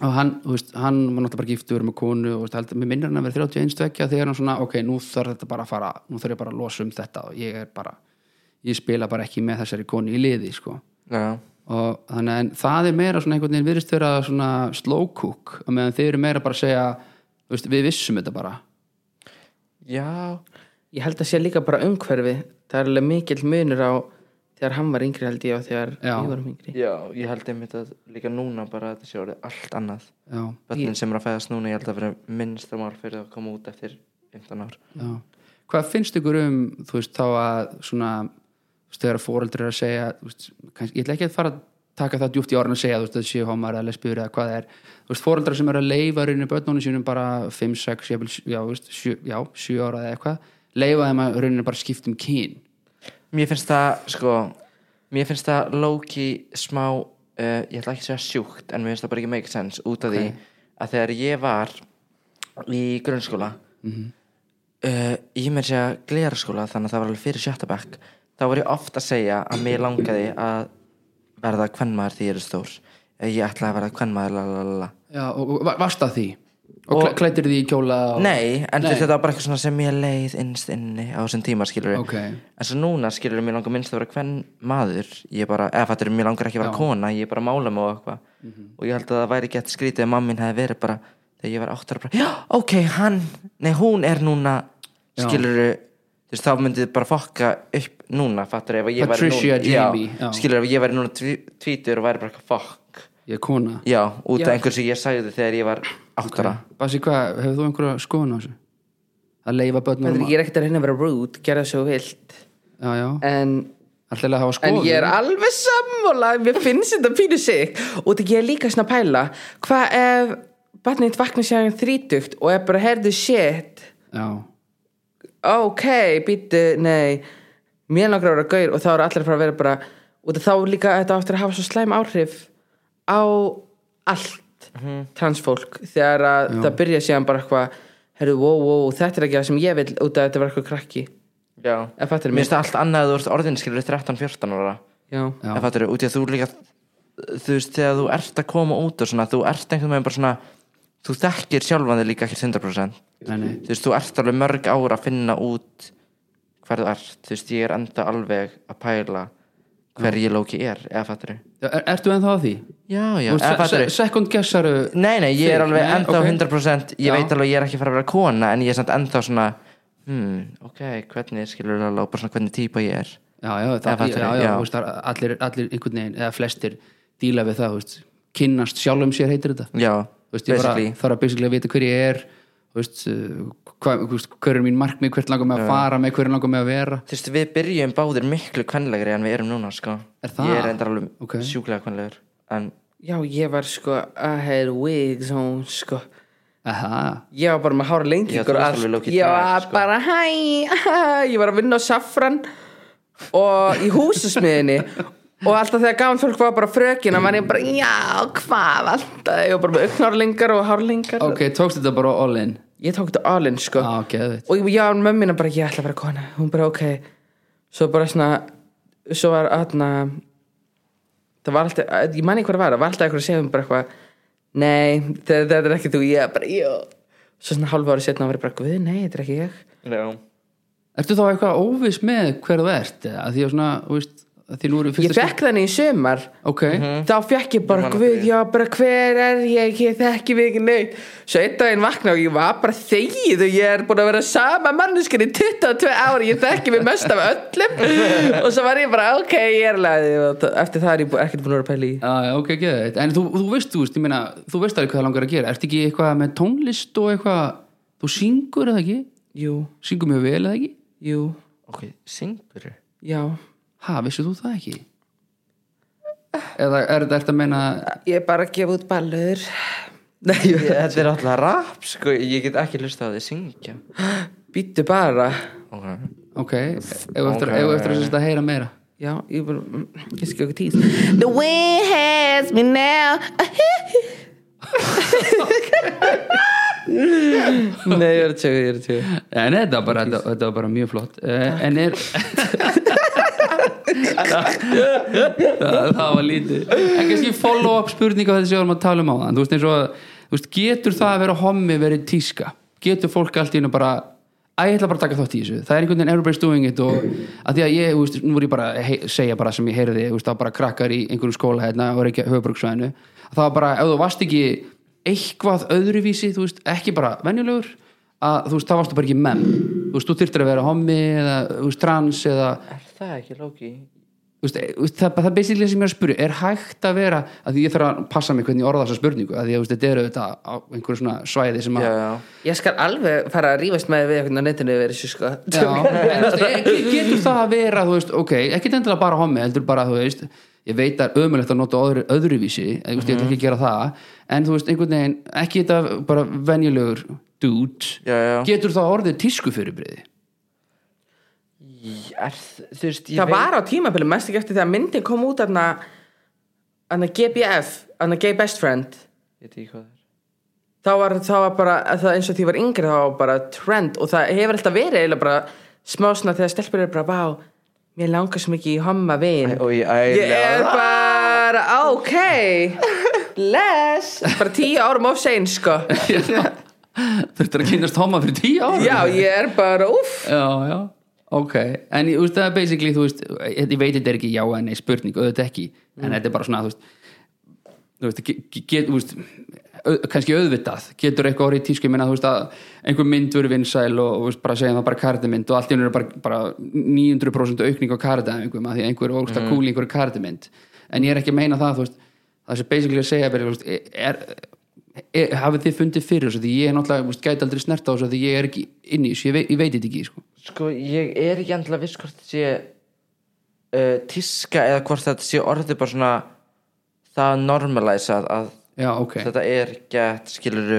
og hann, þú veist, hann var náttúrulega bara giftur með konu og þú veist, held, mér minnir hann að vera 31 stökkja þegar hann svona, ok, nú þarf þetta bara að fara nú þarf ég bara að losa um þetta og ég er bara ég spila bara ekki með þessari konu í liði sko. Já, og þannig að en það er meira svona einhvern veginn virðist vera svona slow cook og meðan þið eru meira bara að segja þú veist, við vissum þetta bara já Ég held að sé líka bara umhverfi Það er alveg mikill munur á Þegar hann var yngri held ég og þegar Já. ég var yngri Já, ég held einmitt að líka núna bara að þetta sé orðið allt annað já, Böllin sem er að fæðast núna, ég held að vera minnsta mál fyrir að koma út eftir 15 ár já. hvað finnst ykkur um þú veist þá að svona þú veist, þegar fóreldur er að segja þú veist, kannski, ég ætla ekki að fara að taka það djúpt í orðin að segja þú veist að séu homar eða lesbíur eða hvað það er þú veist fóreldrar sem eru að leifa rauninu börnunum sínum bara 5, 6, jafnvel, sjö- já, þú veist, 7, já, 7 ára eða eitthvað leifa þeim að rauninu bara skiptum kyn Mér finnst það, sko Mér finnst það lóki smá uh, Ég ætla ekki að segja sjúkt En mér finnst það bara ekki make sense út af því Að þegar ég var í grunnskóla mm Ég með segja gleraskóla Þannig að það var alveg fyrir sjötta bekk Þá var ég oft að segja að mér langaði að Verða kvenmaður því ég er stór Eh, Ég ætlaði að verða kvenmaður lalalala Já, og, og varst að því og, og klættir því í kjóla og, Nei, en Nei. þetta var bara eitthvað svona sem ég leið innst inni á þessum tíma skilur Ok. En svo núna skilur mér langar minnst að vera hvern maður Ég bara, eða fattur, mér langar ekki að vera kona Ég er bara að mála mig og eitthvað Mhm. Og ég held að það væri gett skrítið að mammin hefði verið bara Þegar ég var áttar bara, já, ok, hann Nei, hún er núna Skilur þú veist, þá myndið bara fokka upp núna Fattur, ef ég væri Patricia núna Jamie, já. Skilur, ef ég væri núna tví- tvítur og væri bara eitthvað fokk ég er kona Já, út af einhversu ég sagði þegar ég var áttara Basi, hvað, hefur þú einhverja skoðun á þessu? Að leifa börnum Ég er ekkert að reyna að vera rude, gera það svo vilt Já, já, En alltaf að hafa En skoðun ég er alveg sammála, mér finnst þetta pínu sig og þetta ég er líka svona að pæla hvað ef barnið þitt vaknar sér þrítugt og er bara herðu shit Já, ok, býttu, nei mér langar að vera gaur og þá eru allir að fara að vera bara og þá líka þetta á eftir að hafa svo slæm áhrif á allt transfólk þegar að það byrja síðan bara eitthvað herðu, wow, wow, þetta er ekki það sem ég vil út af þetta var eitthvað krakki Já, Eða fattarðu mér mig? finnst það allt annað að þú ert orðin skilur 13-14 ára já, Já. Það fattur, út í að þú líka þú veist, þegar þú ert að koma út og svona, þú ert einhvern veginn bara svona þú þekkir sjálfan þig líka ekki 100% nei, nei þú veist, þú ert alveg mörg ára að finna út hver þú ert, þú veist, ég er enda alveg að pæla hver ég lóki er, eða fattur Já, er, Ertu ennþá að því? Já, Þú já, veist, eða fattur se- se- Second uh, guessaru Nei, nei, ég er Þig, alveg nei, enda á ok. 100% ég Já. veit alveg að ég er ekki að fara að vera kona en ég er samt enda svona hmm, ok, hvernig skilur alveg bara svona hvernig típa ég er Já, já, það, Eða fattar já, við, já, já. þú veist, það- allir, allir einhvern veginn, eða flestir díla við það, þú veist, kynnast sjálfum sér heitir þetta já, Þú veist, ég bara basically þarf að basically að vita hver ég er þú veist, uh, hvað, þú veist, hver er mín markmið hvert langar mig að fara með, hver langar mig að vera Þú veist, við byrjum báðir miklu kvenlegri en við erum núna, sko Er það? Ég er endar alveg Ok. sjúklega kvenlegur En, Já, ég var sko, I had wigs on, sko aha, Ég var bara með hára lengi sko, Já, þú varst alveg low-key Ég drag, var sko. bara, hæ, hæ Ég var að vinna á Safran Og í húsasmiðinni Og alltaf þegar gaman fólk var bara frökina Var ég bara, já, hvað alltaf Ég var bara með augnárlingar og hárlingar ok, tókst þetta bara all in Ah, Ég tók þetta all in, sko á, geðvitt, og ég var mömmina bara, ég ætla að vera kona hún bara, ok svo bara svona, svo var aðna það var alltaf ég manni hvað það var, það var alltaf eitthvað að segja um bara eitthvað nei, það, það er ekki þú ég bara, já svo svona hálfa ári setna var ég bara, guð, nei, þetta er ekki ég já ertu þá eitthvað óviss með hver þú ert, eða? að því að svona þú veist, að því nú eru í ég fyrsta fekk þannig í sumar skipti- ok, Mhm. þá fekk ég bara, Ég man eftir guð, því. já, bara hver er ég ég þekki við ekki neitt svo einn daginn vakna og ég var bara þegið og ég er búin að vera sama manneskinn í 22 ári, ég þekki við mest af öllum og svo var ég bara, ok, ég er lagði og þa- eftir það er ég bú- ekkert búin að vera að pæla í Já, já, ok, geðið En þú, þú veist, þú veist, ég meina, þú veist alveg hvað það langar að gera Ertu ekki eitthvað með tónlist og eitthvað Þú syngur eða ekki? jú, Syngur mjög vel eða ekki? jú, Ok, syngur já Ha, vissir þú það ekki? Eða er þetta ertu að meina ég er bara að gefa út ballur nei, Ég- ég Þetta er alltaf rap, sko Ég get ekki hlustað á því syngja býttu bara Ok Ok, ef þú eftir, Ok. okay. eftir að, að heyra meira já, ég bara, mm, ég skil ekki tíð the wind has me now nei, ég er að tjóka, ég er að tjóka En þetta var bara, þetta, þetta var bara mjög flott uh, En er það, það, það var lítið En kannski follow up spurninga þessi sem við vorum að tala um á þann Þú veist eins og að, þú veist, getur það að vera hommi verið tíska Getur fólk allt í einu bara Æ, ég ætla bara að taka þátt í þessu Það er einhvern veginn everybody's doing it og að því að ég, þú veist, nú voru ég bara að hei- segja bara sem ég heyrði, þú veist, það var bara krakkar í einhverjum skóla hérna og reykja höfbruksvæðinu það var bara, ef þú varst ekki eitthvað öðruvísi, þú veist, ekki bara venjulegur að þú veist, það varstu bara ekki menn þú veist, þú þyrftir að vera homi eða þú veist, trans eða Er það ekki, Loki? þú veist, e- þú veist, það, það er basically sem ég er að spyrja er hægt að vera, að því ég þarf að passa mig hvernig ég orða þessa spurningu, að því að þú veist, þetta eru þetta á einhverju svona svæði sem að Já, já Ég skal alveg fara að rífast með við einhvern á netinu yfir þessu sko Já, en þú veist, e- getur það að vera þú veist, ok, ekki endilega bara homi, heldur bara þú veist, ég veit það er ömulegt að nota öðru, öðruvísi, eða, þú veist, ég ætla ekki að gera það en þú veist, einhvern veginn, ekki þetta bara venjulegur dude Já, já. getur það orðið tísku fyrirbriði Í- Er, þ- þú veist, ég Það var á tímabili mest ekki eftir þegar myndin kom út aðna, aðna GBF aðna Gay Best Friend Ég veit ekki hvað það er þá var, þá var bara, það eins og því ég var yngri þá var bara trend og það hefur alltaf verið eiginlega bara smá svona þegar stelpur eru bara vá, mér langar svo mikið í homma vin Æ, og ég- æ, Ég er já. bara, ok bless bara tíu árum of sein sko þurftur að kynast homma fyrir tíu ára Já, ég er bara, uff já, já, ok en ég- þú veist, það er basically, þú veist ég ég veit þetta er ekki já en nei spurning, auðvitað ekki en þetta er bara svona, þú veist þú veist, ge- ge- get, þú veist au- kannski auðvitað, getur eitthvað orðið í tísku ég meina, þú veist, að einhver mynd verið vinsæl og, og þú veist, bara segjum það bara kardimynd og allt í einu er bara, bara 900% aukning á kardæfingum, að því einhver er ógsta mm. kúli einhver kardimynd, en ég er ekki að meina það þú veist, það sem basically að segja bara, þú veist, e- er, er, hafið þið fundið fyrir þessu, því ég er náttúrulega, þú veist, gæti aldrei snert á þessu, því ég er ekki inn í þessu, ég, veit- ég veit þetta ekki, sko Sko, ég er ekki endilega viss hvort þetta sé uh, tíska eða hvort þetta sé orðið bara svona það normalisað að Já, ok, Mhm. þetta er gett skiluru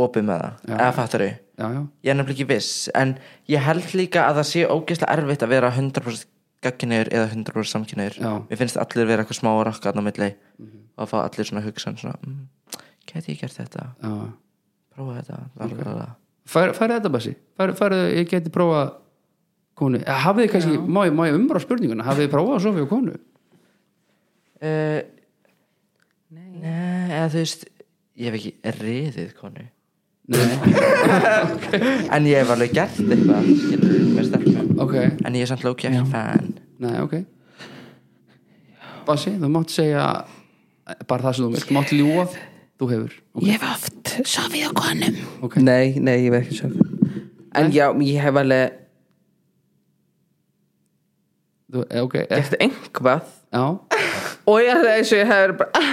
opið með það, eða fattaru já, já, ég er nefnilega ekki viss, en ég held líka að það sé ógeðslega erfitt að vera 100% gagkinnur eða 100% samkinnur Já. Mhm. mér finnst allir vera eitthvað smá að rakka þarna á milli og fá allir svona hugsan svona, mm, geti ég gert þetta, já. prófa þetta okay. Fær, Færðu þetta basi, færðu, færðu, ég geti prófað konu, Eh, hafið þið kannski má ég, má ég umbra spurninguna, hafið þið prófað að sofa hjá konu uh, nei. nei, eða þú veist ég hef ekki riðið konu Nei, en ég hef alveg gert eitthvað skilur með stelpum ok, en ég er samt lóki ekki fan nei, ok Basi, þú mátt segja eh, bara það sem þú vilt, þú mátt ljúa þú hefur, ok, Ég hef oft sofið á konum Ok. Nei, nei, ég hef ekki sofið En já, ég hef alveg þú, eh, ok, eh, gert einhvað já og ég það eins og ég hefur bara ah.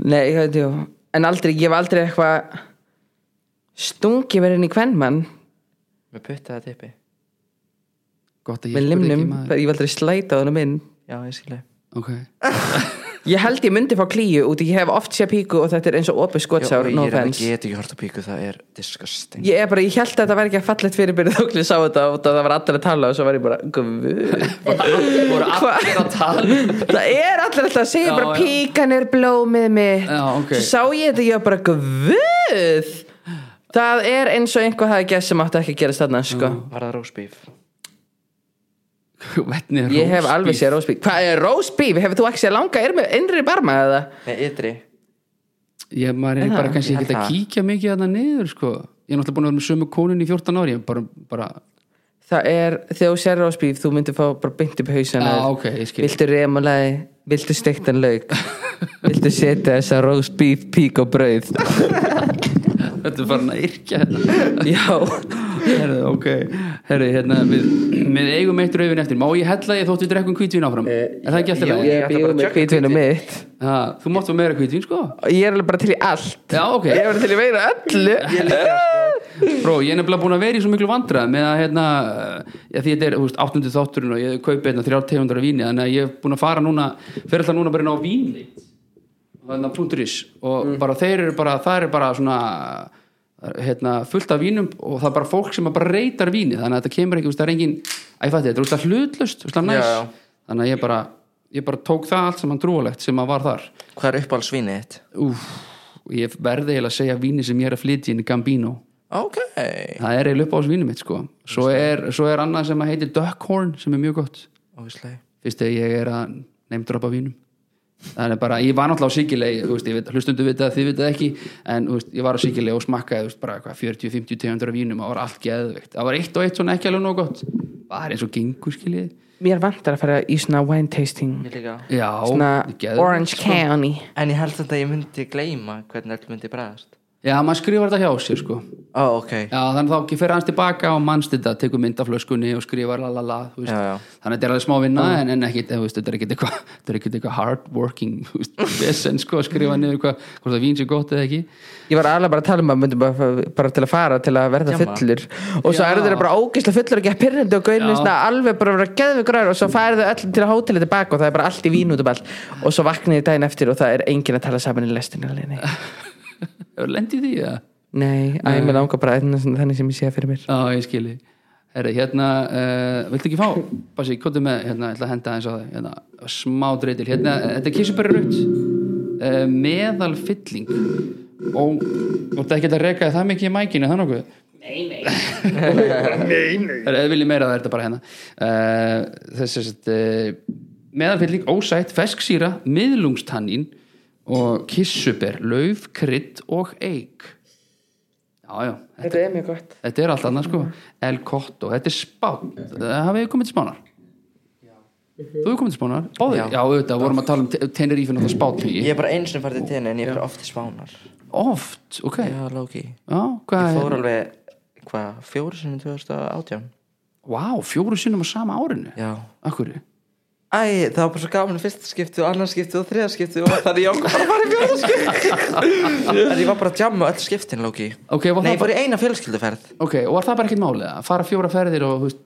nei, ég veit jú en aldrei, ég hef aldrei eitthvað stungið mér inn í kvennmann Með putta það tippi Gott að ég með spurði limnum, ekki maður. ég hef aldrei slætað honum inn Já, ég skilja Ok, ég held ég myndi fá klíu út, ég hef oft séð píku og þetta er eins og opið skotsár, Ég no er alveg offense get ekki hort á píku, það er disgusting Ég er bara, ég held að þetta væri ekki að fallegt fyrirbyrði þókli sá þetta og það var allir að tala og svo var ég bara, guð voru allir að tala það er allir alltaf að segja Já, bara já. píkan er blómið mitt Já, ok. svo sá ég þetta, ég var bara, guð það er eins og einhver hafi gæst sem átti ekki að gera stanna, sko Var það rósbíf? Hvernig er Ég hef roast alveg beef? séð rósbíf Hvað er rósbíf? Hefur þú ekki séð langa er með innri barma eða? Nei, ytri Ég maður er Já, bara kannski ég held ekkert að það. kíkja mikið þarna niður sko. Ég er náttúrulega búin að vera með sömu konun í 14 ári Ég bara, bara Það er, þegar þú séð rósbíf þú myndir fá bara byndi upp hausan Já, Ah, ok, ég skil. Viltu remulaði, viltu steiktan lauk Viltu setja þessa rósbíf pík og brauð Þetta er farin að yrkja hérna Já, Herðu, ok Herðu, hérna, við, við eigum eitt rauðin eftir Má ég hella ég þótt við drekkum kvítvin áfram? er það ekki alltaf leið? ég ætla bara býð að með tjökka kvítvinu mitt Ha, Þú mátt fá meira kvítvin, sko Ég er alveg bara til í allt Já, ok Ég er bara til í meira öllu sko. Bró, ég er nefnilega búin að vera í svo miklu vandræð með að hérna, já, því þetta er þú veist, 8. þátturinn og ég kaupi hérna þrjár tegundar af víni, þannig að ég er búin að fara núna fer alltaf núna bara inn á vínleitt þannig að punktur ís og Mm. bara þeir eru bara, það er bara svona hérna, fullt af vínum og það er bara fólk sem að bara reytar víni þannig að þetta kemur ekki, þú veist, það er engin æ, fætti, þetta er úrst að hlutlust, úrst að næs Já, já. þannig að ég bara, ég bara tók það allt saman trúalegt sem að var þar Hvað er uppáhaldsvínið þitt? Úf, ég verði eiginlega að segja víni sem ég er að flytja inn í Gambino Ok það er eiginlega upp á þessu vínum mitt sko svo er, svo er annað sem að heitir Duckhorn sem er mjög gott Óvíslega fyrst þegar ég er að neymdrapa vínum þannig bara, ég var náttúrulega á Sikilei þú veist, ég veit, hlustundu vita það, þið vita það ekki en þú veist, ég var á Sikilei og smakkaði þú veist, bara hvað, 40-50 tegundur af vínum, það var allt geðveikt það var eitt og eitt svona ekki alveg nóg gott það er eins og gengur skiljið Mér vantar að fara í svona wine tasting Ég líka já, Svona geðveikt, Orange sko. County En ég held samt að ég myndi gleyma hvernig öll myndi bræðast já, maður skrifar þetta hjá sér sko Ó, ok já, þannig þá ekki fer hans tilbaka og mannst þetta tekur myndaflöskunni og skrifar lalala þú veist. Já, já. þannig að þetta er alveg smá vinna en, en ekkit, þú veist, þetta er ekkit eitthvað þetta er ekkit eitthvað hardworking þú veist, vesen, sko, að skrifa niður hvað, hvort það vín sér gott eða ekki Ég var alveg bara að tala um að myndum bara, bara til að fara til að verða Djamma. fullur og svo Já. eru þeirra bara ógeðslega fullur og ekki að pyrrandi og Já. gaurinu svona alveg bara að vera geðvig græður og svo færðu þau öll til að hóteli tilbaka og það er bara allt í vín út um allt og svo vaknaði daginn eftir og það er enginn að tala saman í lestinu alveg, nei, Ah. hefur lendið því eða? nei, æ, mér langar bara að- þannig sem ég sé það fyrir mér já, ég skilji Herri, hérna, uh, viltu ekki fá Basi, komdu með, hérna, ég ætla að henda eins á þig hérna, smá dreitil, hérna, þetta er kissubæri raut uh, meðalfylling og þú ert ekki að reka þig það mikið í mækinu, er það nokkuð Það er eða viljið meira það er þetta bara hérna uh, Þess að uh, meðanfylling, ósætt, fesksýra, miðlungstannín og kissuber, lauf, krydd og eik Já, já, þetta, Þetta er mjög gott þetta er allt annað sko El Cotto, þetta er spán Það hafið komið til spánar Þú hefur komið til spánar? Báðir? Já. Já, auðvitað, vorum að tala um Tenerife náttúrulega spátvíi Ég er bara einu sinni farið til tenni en ég er oft í spánar Oft, ok Já, Já, Loki Ég hvað fór er alveg, hvað, fjóru sinni 2018 Vá, fjóru sinnum á sama árinu Já Akkurri Æ, það var bara svo gaman í fyrsta skipti og annars skipti og þriða skipti og þannig ég ákvað bara að fara í fjóra skipti Þannig ég var bara að jamma öll skiptin, Loki Ok, var það bara- Nei, ég fór í eina fjölskylduferð Ok, og var það bara ekkert málið að fara fjóra ferðir og, þú veist,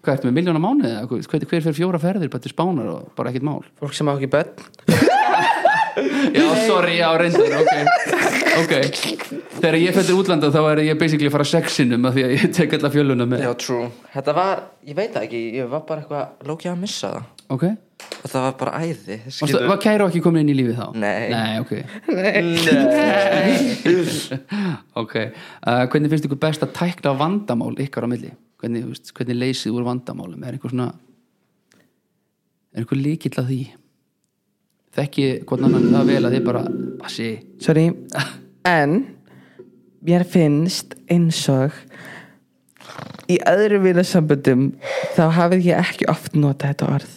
hvað ertu með miljóna mánuði eða, hvað, hver, hver fer fjóra ferðir bara til spánar og bara ekkert mál? Fólk sem á ekki börn Já, sorry, já, reyndar, ok Ok, þegar ég fættir útlanda þá er ég basically að fara sexinum að því að ég tek alla fjöluna með Já, true Þetta var, ég veit það ekki, ég var bara eitthvað Loki að missa það Ok, Og það var bara æði Varstu, skilurðu. var Kæró ekki komin inn í lífið þá? Nei. Nei, ok, Nei ok uh, Hvernig finnst ykkur best að tækla vandamál ykkar á milli? Hvernig, þú veist, hvernig leysið úr vandamálum? Er einhver svona er einhver líkill að því? Þekki hvort annan það vel að þið bara Ah, Bassi, Sorry, en mér finnst eins og í öðrum vinasamböndum þá hafið ég ekki oft notað þetta orð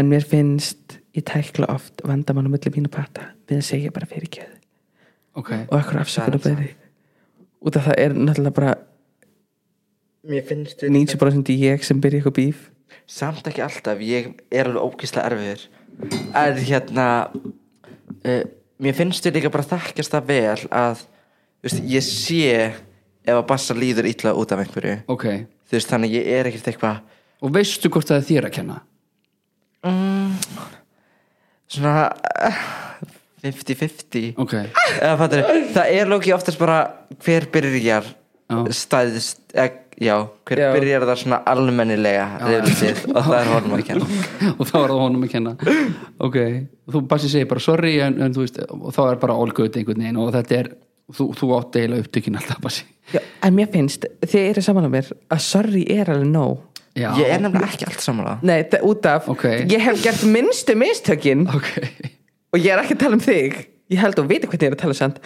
en mér finnst ég tækla oft vandamálum milli mínu parta við að segja bara fyrir kjöð ok og ekkur afsökunar bæði út af það er náttúrulega bara Mér finnst 90% ég sem byrja eitthvað bíf Samt ekki alltaf, ég er alveg ókýrslega erfiður en hérna uh, mér finnst þér líka bara þekkjast það vel að þú veist, ég sé ef að bassa líður illa út af einhverju ok, þú veist þannig ég er ekkert eitthvað og veistu hvort það er þér að kenna svona eh, 50-50 ok, Eða, fattar, það er lóki oftast bara hver byrjar Já. stæðist ek, já, hver Já. byrjar það svona almennilega reyfilsið og það er honum að kenna og þá er það honum að kenna ok, þú Bassi segir bara sorry en, en þú veist, og þá er bara all good einhvern veginn og þetta er, þú, þú átt deila upptökin alltaf Bassi Já, en mér finnst, þið eru saman á mér að sorry er alveg nóg já, ég er nefnilega ekki allt samanlega Nei, það- út af, Ok. ég hef gert minnstu mistökin ok og ég er ekki að tala um þig ég held að þú veitir hvernig ég er að tala samt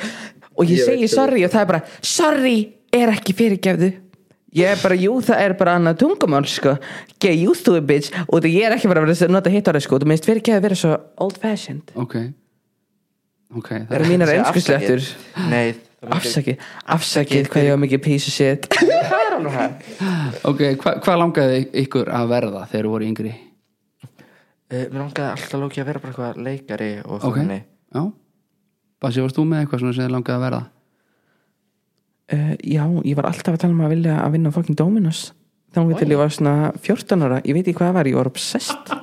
og ég, segi sorry og það er bara sorry er ekki fyrirgefðu ég er bara, jú það er bara annað tungumál sko, get used to it bitch og það ég er ekki bara að vera að nota hitt ára sko þú minnst fyrirgefðu vera svo old fashioned ok ok, það eru mínar einskurslettur nei, það afsakið, afsakið hvað ég var mikið piece of shit er alveg hægt Ok, hva, hvað langaði ykkur að verða þegar þú voru yngri? Uh, mér langaði alltaf lóki að vera bara eitthvað leikari og Ok, þannig já Basi, varst þú með eitthvað svona sem þið langaði að verða? Uh, já, ég var alltaf að tala um að vilja að vinna á fucking Dominos þá til ég var svona 14 ára ég veit ekki hvað það var, ég var obsessed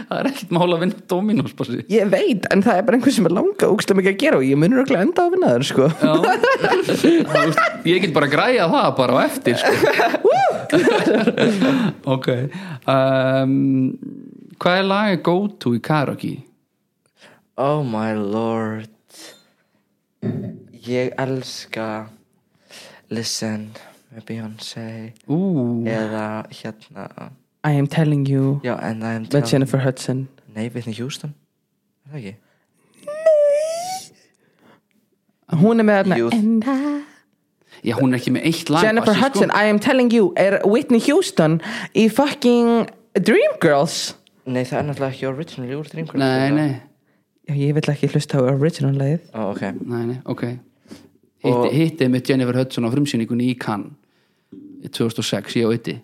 Það er ekkert mála að vinna Dominos, Basi ég veit, en það er bara einhver sem er langa úkslega mikið að gera og ég munur okkur enda á að vinna þar sko. Já Það, veist, Ég get bara að græja það bara á eftir sko. Ok um, Hvað er lagið go to í karaoke? Oh my lord Ég elska Listen með Beyoncé Ú, eða hérna I am telling you Já, en það er með Jennifer Hudson Nei, Whitney Houston Er það ekki? hún er með þarna Youth. And I- já hún er ekki með eitt lag sko. Jennifer Basi, Hudson, I am telling you er Whitney Houston í fucking Dreamgirls Nei, það er náttúrulega ekki original úr Dreamcroft Nei, nei, Já, ég vill ekki hlusta á original lagið Ó, ok nei, nei, ok Og- Hitti, hitti með Jennifer Hudson á frumsýningunni í Cannes í 2006, ég og Ytti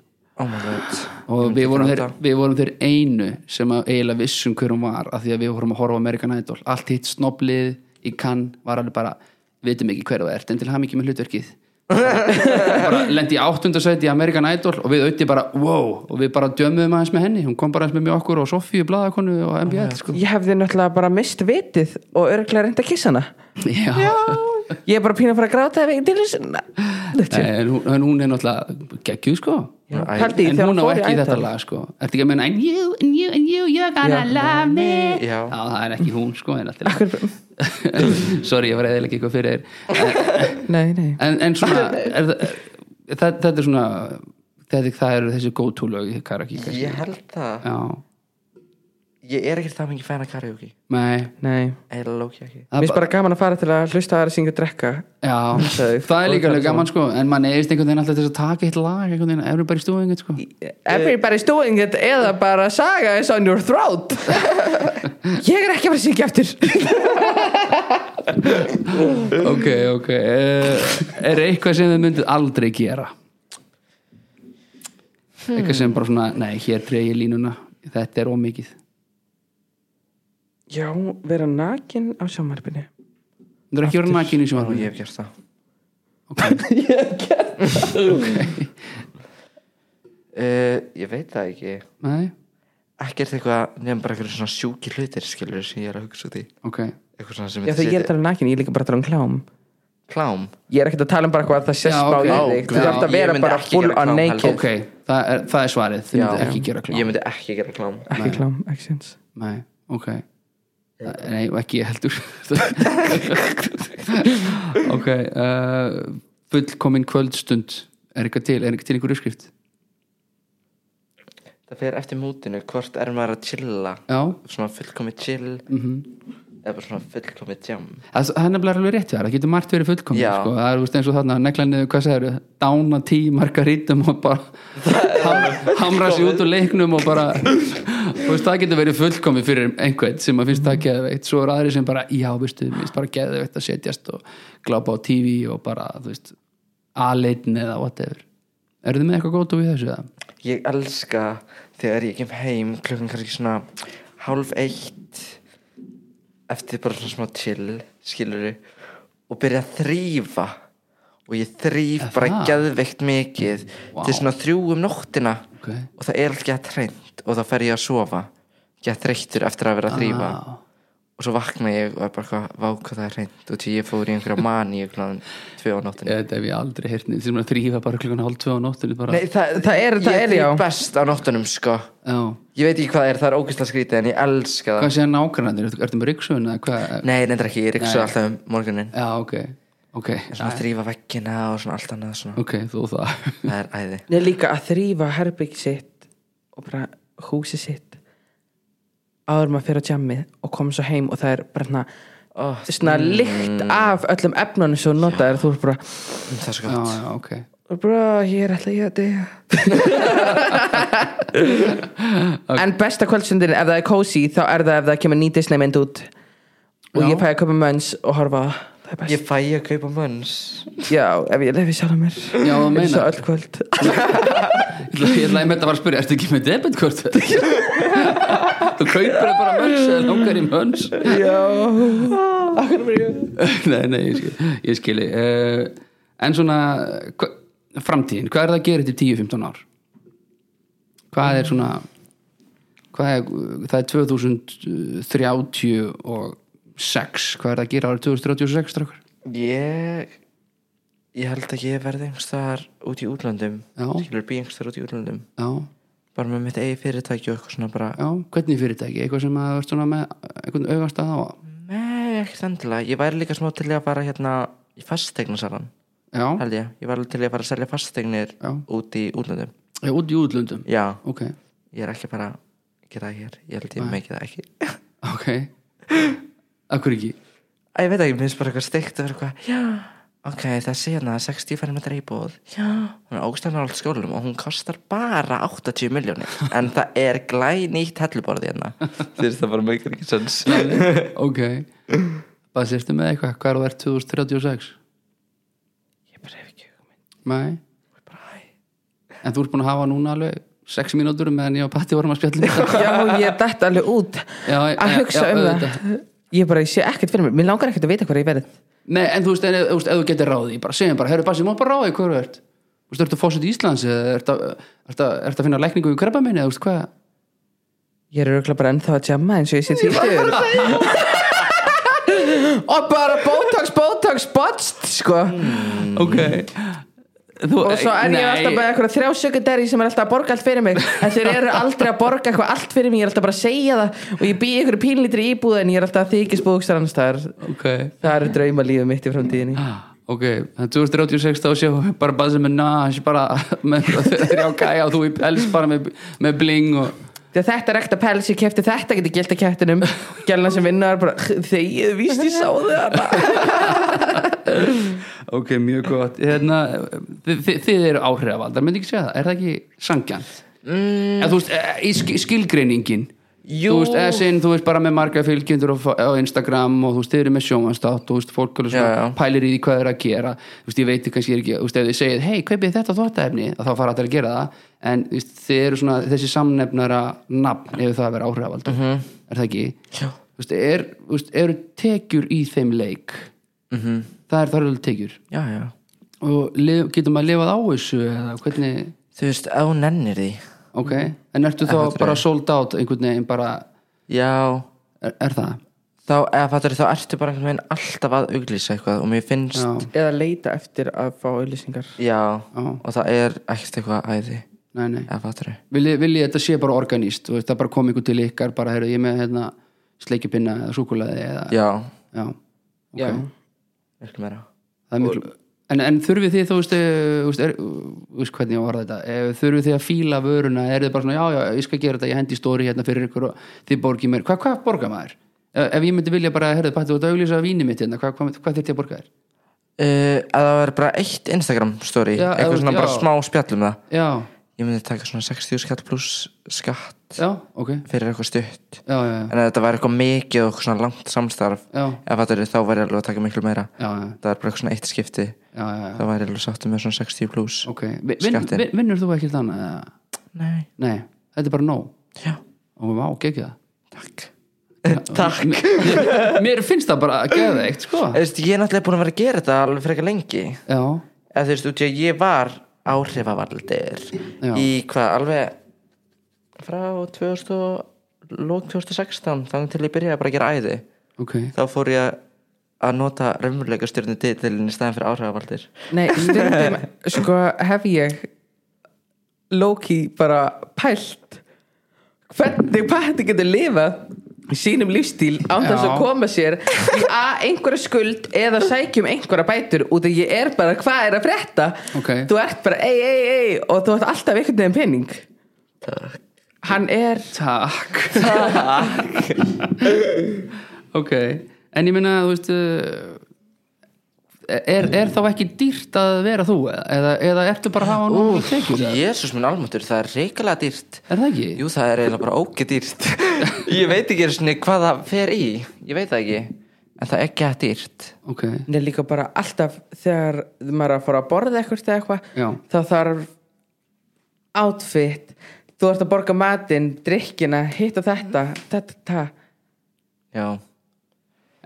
Oh my god og við vorum, þeir, gráta. við vorum þeir einu sem að eiginlega vissum hver hún var af því að við vorum að horfa á American Idol allt hitt snoblið í kann var alveg bara, við veitum ekki hver þú ert en til hann ekki með hlutverkið bara lendi í áttundasæti í American Idol og við auðvitað bara, wow og við bara djömmuðum aðeins með henni, hún kom bara aðeins með mjög okkur og Sofíu Blaðakonu og MBL sko. ég hefði náttúrulega bara mist vitið og örgulega reynda að kissa hana já, ég er bara pína að fara að gráta ef ég til þess En, hún, en hún er náttúrulega geggjuð sko Æ, Haldi í en þegar hún hún á fór í ekki í þetta Idol. lag sko ertu ekki að meina, and you, and you, and you you're gonna love me Já. Já, það er ekki hún sko en allt í lagi. Akkur, sorry, ég var eða ekki eitthvað fyrir þér nei, nei en, en svona er, það, það, þetta er svona þetta, það eru þessi góttúlög í karaoke kannski. Ég held það já, Ég er ekkert það mikið fæn að karaoke nei Nei, Eða lóki ekki mér finnst bara gaman að fara til að hlusta aðra syngja og drekka Já, Sagði- það er líka og- alveg gaman sko en mann eðist einhvern veginn alltaf til þess að taka eitt lag einhvern veginn, everybody's doing it sko Everybody's doing it eða bara saga is on your throat Ég er ekki að fara að syngja eftir ok, ok uh, er eitthvað sem þið myndið aldrei gera eitthvað sem bara svona nei, hér treyja ég línuna þetta er ómikið Já, vera nakin á sjómarfinu þú er ekki verið nakin í Og sjónvarpinu ég hef gert það uh, Ég veit það ekki nei, ekkert eitthvað nefnum bara eitthvað svona sjúki hlutir skilur sem ég er að hugsa út í ok, eitthvað svona sem Já, þegar ég er að tala um nakin, ég er líka bara að tala um klám klám Ég er ekkert að tala um bara hvað það sést Já, bá ok. í þig Þú Já, þarf að ég vera myndi bara ekki full gera on klám, naked ok, það er, það er svarið þið myndið ekki gera klám ég myndi ekki gera klám Ekki klám, ekki sens Nei, ok Nei, og ekki ég heldur Ok uh, Fullkomin kvöldstund Er eitthvað til, er eitthvað til einhver uppskrift það fer eftir mútinu hvort er maður að chilla Já, svona fullkomi chill mm eða bara svona fullkomi jam það það er nefnilega alveg rétt hjá þér, það getur margt verið fullkomin Já. sko. það er þú veist, eins og þarna, negla niður hvað segir dána tí margarítum og bara ham, hamra sér út úr leiknum og bara, þú veist, það getur verið fullkomin fyrir einhvern sem að finnst það geðveikt svo eru aðri sem bara, já, veistu, mér finnst bara geðveikt að setjast og glápa á tv og bara, þú veist, aðleitin eða whatever, eru þið með eitthvað gótt úr þessu það? ég elska þegar ég kem heim klukkan kannski svona hálf eitt eftir bara svona smá chill skilur og byrja að þrýfa og ég þrýf Er bara það? geðveikt mikið Vá. til svona þrjú um nóttina Ok. og það er alltaf gett reynd og þá fer ég að sofa gett þreyttur eftir að vera að þrýfa Ah. og svo vakna ég og er bara hvað váka það er reynd og því ég fór í einhverja mani í klán tvö á nóttina Þetta hef ég aldrei heyrt neitt sem að þrýfa bara klukkan hálf tvö á nóttinu bara Nei, það, Það er- það ég er, þrýf já. best á nóttunum sko Já. Ég veit ekki hvað það er, það er ógæsla skrítið en ég elska það Hvað séð nákvæmrandir? Ertu, ertu með ryggsögun eða hvað? Nei, neyndar ekki, ég riksu Nei. alltaf um morgunin Já, ok. Ok, Svona að þrýfa veggina og svona allt annað svona. ok, þú það. Það er æði Nei, líka að þrýfa herbygg sitt og bara húsi sitt áður en maður fyrir á jammið og kom svo heim og það er bara hérna oh, svona lykt af öllum efnunum sem þú notaðir þú er bara, Um Það er svo Já, gott já, ok. þú er bara ég er alltaf ég að deyja En besta kvöldsundin ef það er cozy þá er það ef það kemur ný Disney mynd út og Já. ég fæ að köpa mönns og horfa á það. það er best Ég fæ að kaupa mönns Já, ef ég lefi sjálf mér Já, þú Eins og meinar. öll kvöld Ég ætla- Ég ætlaði með þetta bara að spyrja, ertu ekki með debitkort? þú kaupir það bara mönns eða langar í mönns? Já. nei, nei, ég skil. Ég skil uh, en svona, hva, framtíðin, hvað er það að gera til 10-15 ár? Hvað er svona, hvað er, það er 2036, hvað er það að gera árið 2036, strákar? Ég Ég held að ég verði einhvers þar út í útlöndum Já. Skilur bí einhvers þar út í útlöndum Já, Bara með mitt eigi fyrirtæki og eitthvað svona bara já, hvernig fyrirtæki? Eitthvað sem að verður svona með einhvern augast að á? Nei, ekkert endilega Ég væri líka smá til í að fara hérna í fastegnasalan Já, Held ég, ég var alveg til í að fara að selja fastegnir Já. út í útlöndum Já, út í útlöndum Já, ok, ég er ekki bara að gera það hér, ég held ég megi það ekki ok akkur ekki Æ, ég veit ekki, mér finnst bara eitthvað steikt að vera eitthvað Já, ok, þessi hérna 60 færi með dreifbúð Já, hún er ógstæðan á allt skólum og hún kostar bara 80 miljónir En það er glænýtt helluborði hérna Þú veist það bara meikir ekki sens ok, bara sérstu með eitthvað hvað er það verð 2036 Ég bara hef ekki hugmynd nei, Bara, æ, en þú ert búin að hafa núna alveg 6 mínútur meðan ég og Patti vorum að spjalla um þetta. Já, ég dætt alveg út Já, að já, hugsa já, um auðvitað. það Ég bara, ég sé ekkert fyrir mér, mér langar ekkert að vita hvað ég verið nei, en þú veist, en, ef- þú veist, ef þú getur ráði bara segjum bara, herru Bassi, má bara ráði hvað þú ert þú veist, ertu fósitt í Íslands eða ertu að- ertu að ertu að finna lækningu í krabba minni, þú veist hvað Ég er auðvitað bara ennþá að jamma eins og ég sé týttur Og bara botox, botox, botst sko. ok þú, Og svo er ég alltaf með eitthvað þrjá sekundæri sem er alltaf að borga allt fyrir mig En þeir eru aldrei að borga eitthvað allt fyrir mig Ég er alltaf bara að segja það Og ég býi ykkur pínlítri íbúð En ég er alltaf að þykist búkstar annars staðar. ok, Það eru draumalífið mitt í framtíðinni ok, þannig 2036 þá séu við bara Bazzi Minaj bara með þrjá gæja og þú í pels bara með, með bling og Þegar þetta er ekta pels, ég kefti þetta geti gilt að kettinum Gjallan sem vinnar bara Þegið, víst ég sá það ok, mjög gott hérna, þið, þið- þið eru áhrifavaldar, myndi ekki segja það, er það ekki sangjant? Mm. Eða, þú veist, eh, í skil- skilgreiningin Jú. þú veist, essin, þú veist, bara með marga fylgjendur á, á Instagram og þú veist, þið eru með sjómanstátt þú veist, fólk alveg Já, svona já. pælir í því hvað þeir eru að gera þú veist, ég veit kannski er ekki, þú veist, ef þið segið hei, kaupið þetta þvóttaefni, þá fara allir að gera það en þú veist, þið eru svona þessi samnefnara nafn, ef það að vera áhrifavald Mhm. er það ekki? Já. Þú veist, er, þú veist, eru tekjur í þeim leik Mhm. -hmm. það er þar alveg tekjur já, já og lif, getur maður lifað á þessu eða hvernig, Þú veist, ef hún nennir því ok en ertu þá bara sold out einhvern veginn bara, Já, er, er það? þá, eða fattur, þá ertu bara einhvern veginn alltaf að auglýsa eitthvað og mér finnst Já, Eða leita eftir að fá auðlýsingar Já, Já. og það er ekkert eitthvað æði nei, nei eða fattur viljið vilji þetta sé bara organíst þú veist, það bara kom ykkur til ykkar, bara heyrðu ég er með hérna, sleikipinna eða súkulaði eða, Já, já, ok miklu meira það er miklu En, en þurfið þið, þú veist, eh, þú veist, er, þú veist hvernig ég var þetta, eh, þurfið þið að fíla vöruna, er þið bara svona, já, já, ég skal gera þetta, ég hendi stóri hérna fyrir ykkur og þið borgið mér, hvað hva borga maður? Ef ef ég myndi vilja bara, herðu, pættu þú ert að auglýsa víni mitt hérna, hvað hva, hva þurfti ég að borga þér? uh, að það verður bara eitt Instagram story Já, eða eitthvað þú- svona bara já. smá spjall um það Já, ég myndi taka svona 60 skall pluss skatt já, ok, fyrir eitthvað stutt já, já, já, en ef þetta væri eitthvað mikið og eitthvað svona langt samstarf já, eða fattur þá væri alveg að taka miklu meira já, já, það er bara eitthvað svona eitt skipti já, já, já. það væri alveg sáttu með svona 60 pluss ok, Vin- vin, Skattinn. vin, vinnur þú ekkert annað? eða? nei, Nei, þetta er bara nóg, já, og vá, gekk það, Takk Takk mér, mér finnst það bara geðveikt sko. Þú veist, Ég er náttúrulega búin að vera að gera þetta alveg frekar lengi já, eða þú veist, út í að ég var áhrifavaldir Já. í hvað, alveg frá 2000 og lók 2016, þannig til ég byrjaði bara að gera æði ok þá fór ég að nota raunveruleika stjórnum titilin í staðan fyrir áhrifavaldir Nei, stundum sko hef ég Loki bara pælt hvernig pætti getur lifað í sínum lífstíl án þess Já. að koma sér í að einhverja skuld eða sækjum einhverja bætur út að ég er bara hvað er að frétta Ok. þú ert bara ei, ei, ei og þú ert alltaf einhvern veginn pening hann er takk ok en ég meina þú veist uh, er, er þá ekki dýrt að vera þú eða, eða ertu bara að hafa nú uh, tekjur eða? Jésús minn almáttur, það er reikalega dýrt er það ekki? Jú, það er eiginlega bara ógeð dýrt Ég veit ekki einu sinni hvað það fer í Ég veit það ekki En það er ekki að dýrt ok, Nei, líka bara alltaf þegar maður er að fara að borða eitthvað eða Já. eitthvað þá þarf outfit þú ert að borga matinn, drikkina hitta þetta, þetta, þetta Já,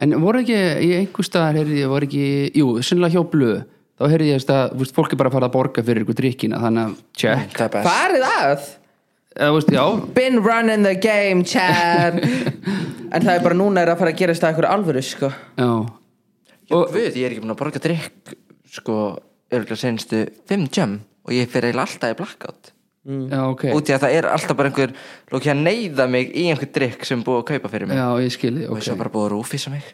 en voru ekki í einhver staðar heyrði ég voru ekki, jú, sinnlega hjá blöð þá heyrði ég að þú veist, fólk er bara að fara að borga fyrir ykkur drikkina, þannig að check það er best farið að eða þú veist, já, been running the game, Chad en það er bara núna er að fara að gerast það eitthvað alvöru, sko já og við, ég er ekki búin að borga drikk sko, örgulega senstu fimm jam og ég fer eiginlega alltaf í blackout já, ok út í að það er alltaf bara einhver lókið að neyða mig í einhver drikk sem er búið að kaupa fyrir mig já, ég skilji, og ok þess að bara búið að rúfísa mig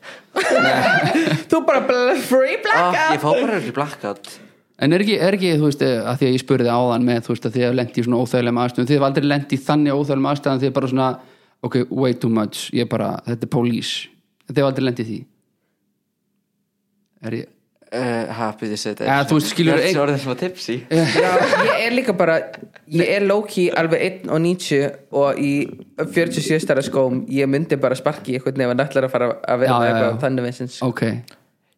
þú bara bl- free ah, ég blackout fá bara örgulega blackout En er ekki, er ekki, þú veist, eh, að því að ég spurði áðan með, þú veist, að þið hef lendi í svona óþægilegum aðstöðum, þið hef aldrei lendi í þannig óþægilegum aðstöðum, þið er bara svona, ok, way too much, ég er bara, þetta er pólís, þið hef aldrei lendi í því. Er ég, uh, happy this it Ja, þú veist, skilur ég er ein- svo orðin svona tipsy Já, ég er líka bara ég er Loki alveg 1 og 90 og í 47 stara skóm ég myndi bara sparki í eitthvað nefn allar að fara að vera Já, já, já. eitthvað þannig vinsins ok,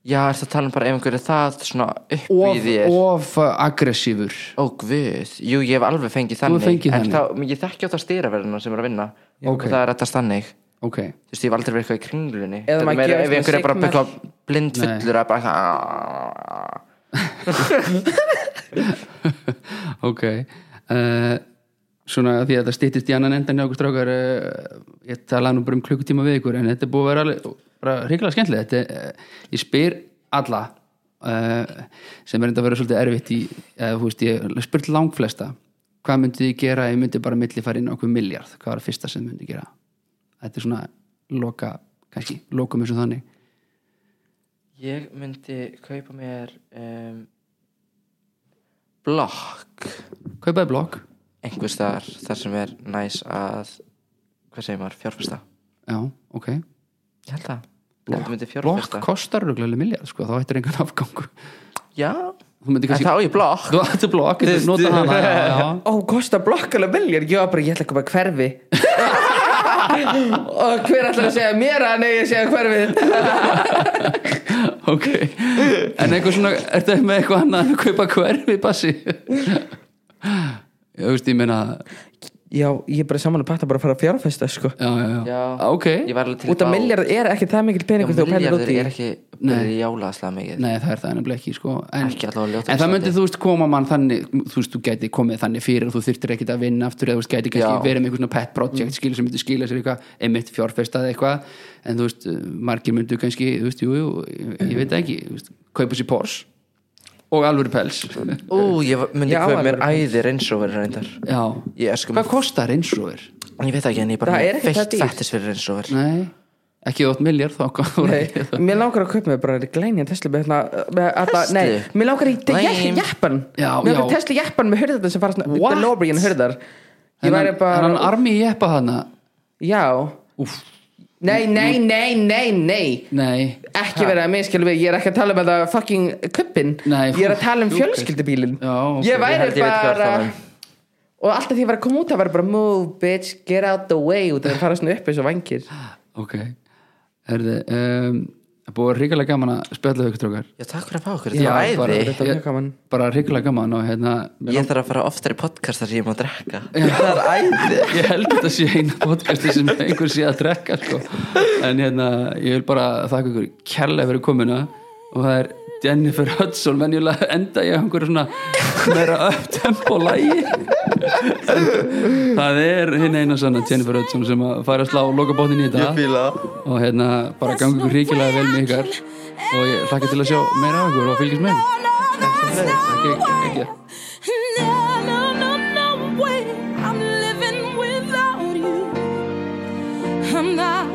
já, er það tala um bara ef einhver er það svona upp í of, þér of aggressífur, ó guð, jú, ég hef alveg fengið hefur þannig fengið en þannig. þá, ég þekki á það stýraverðina sem er að vinna ok. og það er rettast þannig ok, þú veist, ég hef aldrei verið eitthvað í kringlunni Eða maður meira gefur ef svona einhver er bara signal. eitthvað blind Nei. fullur að bara eitthvað "Ah." ok, uh, svona því að það styttist í annan endan hjá okkur strákar, uh, ég talaði nú bara um klukkutíma við ykkur, en þetta er búið að vera alveg, bara hrikalega skemmtilegt, þetta, er, uh, ég spyr alla, uh, sem er enda að vera svolítið erfitt í, uh, þú veist, ég hef spurt langflesta, hvað myndið þið gera, ef ég myndi bara milli fara inn á okkur miljard, hvað var það fyrsta sem þið myndið gera? Þetta er svona loka, kannski, lokum eins og þannig. ég myndi kaupa mér um, blokk Kaupaði blokk, einhvers þar, þar sem er næs að hvað segir maður, fjárfesta já, ok. ég held að, ég held að myndi Blokk fjárfesta kostar röglega miljard, sko, þá ættir engan afgangur. já, Þú myndir en kannski þá á ég blokk Þú ættu blokk, þú nota hana já, já. Ó, kosta blokkalega veljar Ég var bara, ég ætla ekki bara að hverfi Og hver ætlar að segja mér að nei, ég segja hverfi Ok En eitthvað svona, ertu með eitthvað annað en að kaupa hverfi, Bassi? Ég veist, ég meina Já, ég er bara saman að patta bara að fara að fjárfesta sko. Já, já, já, Já. Ok ég var alveg til Út af miljard er ekki það mikil peningur þegar þú pælir út miljardur í er ekki byrjið jálaðslega mikið Nei, það er það ennum ekki, sko En, Ekki allavega ljóta en það Íslandi. myndi, þú veist, koma mann þannig Þú veist, þú gæti komið þannig fyrir og þú þyrftir ekkit að vinna aftur eða þú veist, gæti Já. Mm. kannski verið með eitthvað svona pet project skilur sem myndi skila sér eitthvað, einmitt fjárfestað eitthvað en þú veist, margir myndu kannski, þú veist, jú, jú, ég, ég veit það ekki þú veist, kaupa sér pors og alvöru pels ú, ég var- myndi Já, kaupa mér alveg. æðir eins og verið reyndar Já, ég er sko hvað kostar eins og er? Ég veit það ekki en ég bara Það er hef ekki það feitt dýrt. fættis fyrir eins og verð Nei, ekki þótt miljar þá kom þú ekki Nei, Mér langar að kaupa mig bara glænja Tesla með hérna, með alla, Tesla? Nei, mér langar í Lame. jeppan Já, Mér langar já. í Tesla jeppan með hurðarnar sem fara svona What? DeLorean hurðar Ég væri En hann bara, armi í jeppa hana já Úf, Nei, nei, nei, nei, nei nei ekki verið að miskjölu við, ég er ekki að tala um það fucking kuppin, Nei, ég er að tala um ok. fjölskyldubílin Já, ok, ég ég væri held ég veit hvað bara það var. og alltaf því ég var að koma út það var bara move bitch, get out the way út það fara svona upp eins og vangir Ok Herði, um, Það er búið ríkilega gaman að spjalla við ykkur strókar Já, takk fyrir að fá okkur, Já, þetta var bara- æði Þetta var mjög gaman bara ríkilega gaman og hérna Ég þarf að fara oftar í podcast þar sem ég má drekka Það er æði ég held þetta sé eina podcasti sem einhver sé að drekka sko. en hérna, ég vil bara þakka ykkur kærlega fyrir komuna og það er Jennifer Hudson venjulega enda ég einhverju svona meira upptempo lægi það er hinn eina svona Jennifer Hudson sem að fara að slá lokabóttin í þetta Fíla og hérna bara gangi ykkur ríkilega vel með ykkar og ég hlakka til að sjá meira af ykkur og fylgjast með ekki, ekki, ekki No, no, no, no way. I'm living without you. I'm not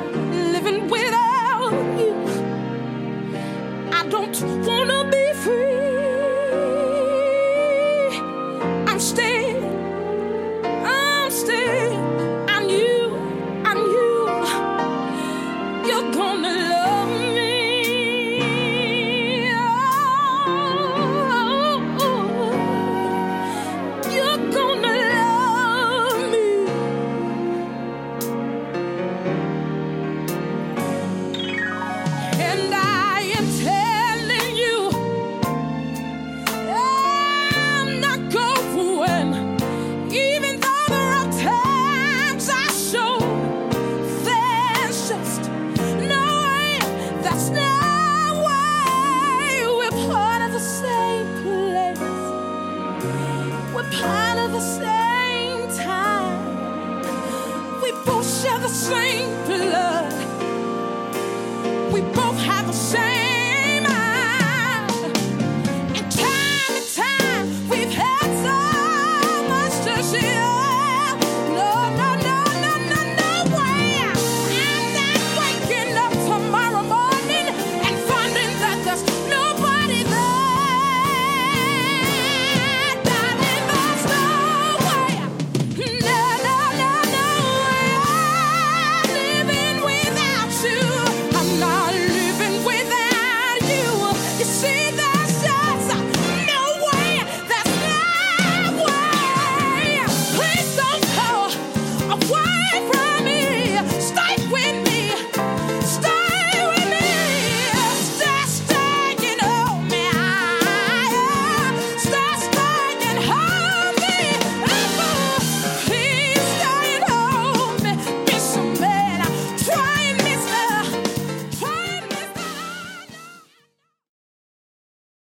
living without you. I don't wanna be free. I'm staying. I'm staying. I'm you. I'm you. You're gonna love me. Oh, you're gonna love me. And I am telling you, I'm not going. Even though there are times I show there's just no way, that's no way. We're part of the same place, we're part of the same time. We both share the same blood, we both have the same eye. And time and time we've had so much to share. No, no, no, no, no, no way. I'm not waking up tomorrow morning and finding that there's nobody there. Darling, there's no way. No, no, no, no way. I'm living without you. I'm not living without you. You see.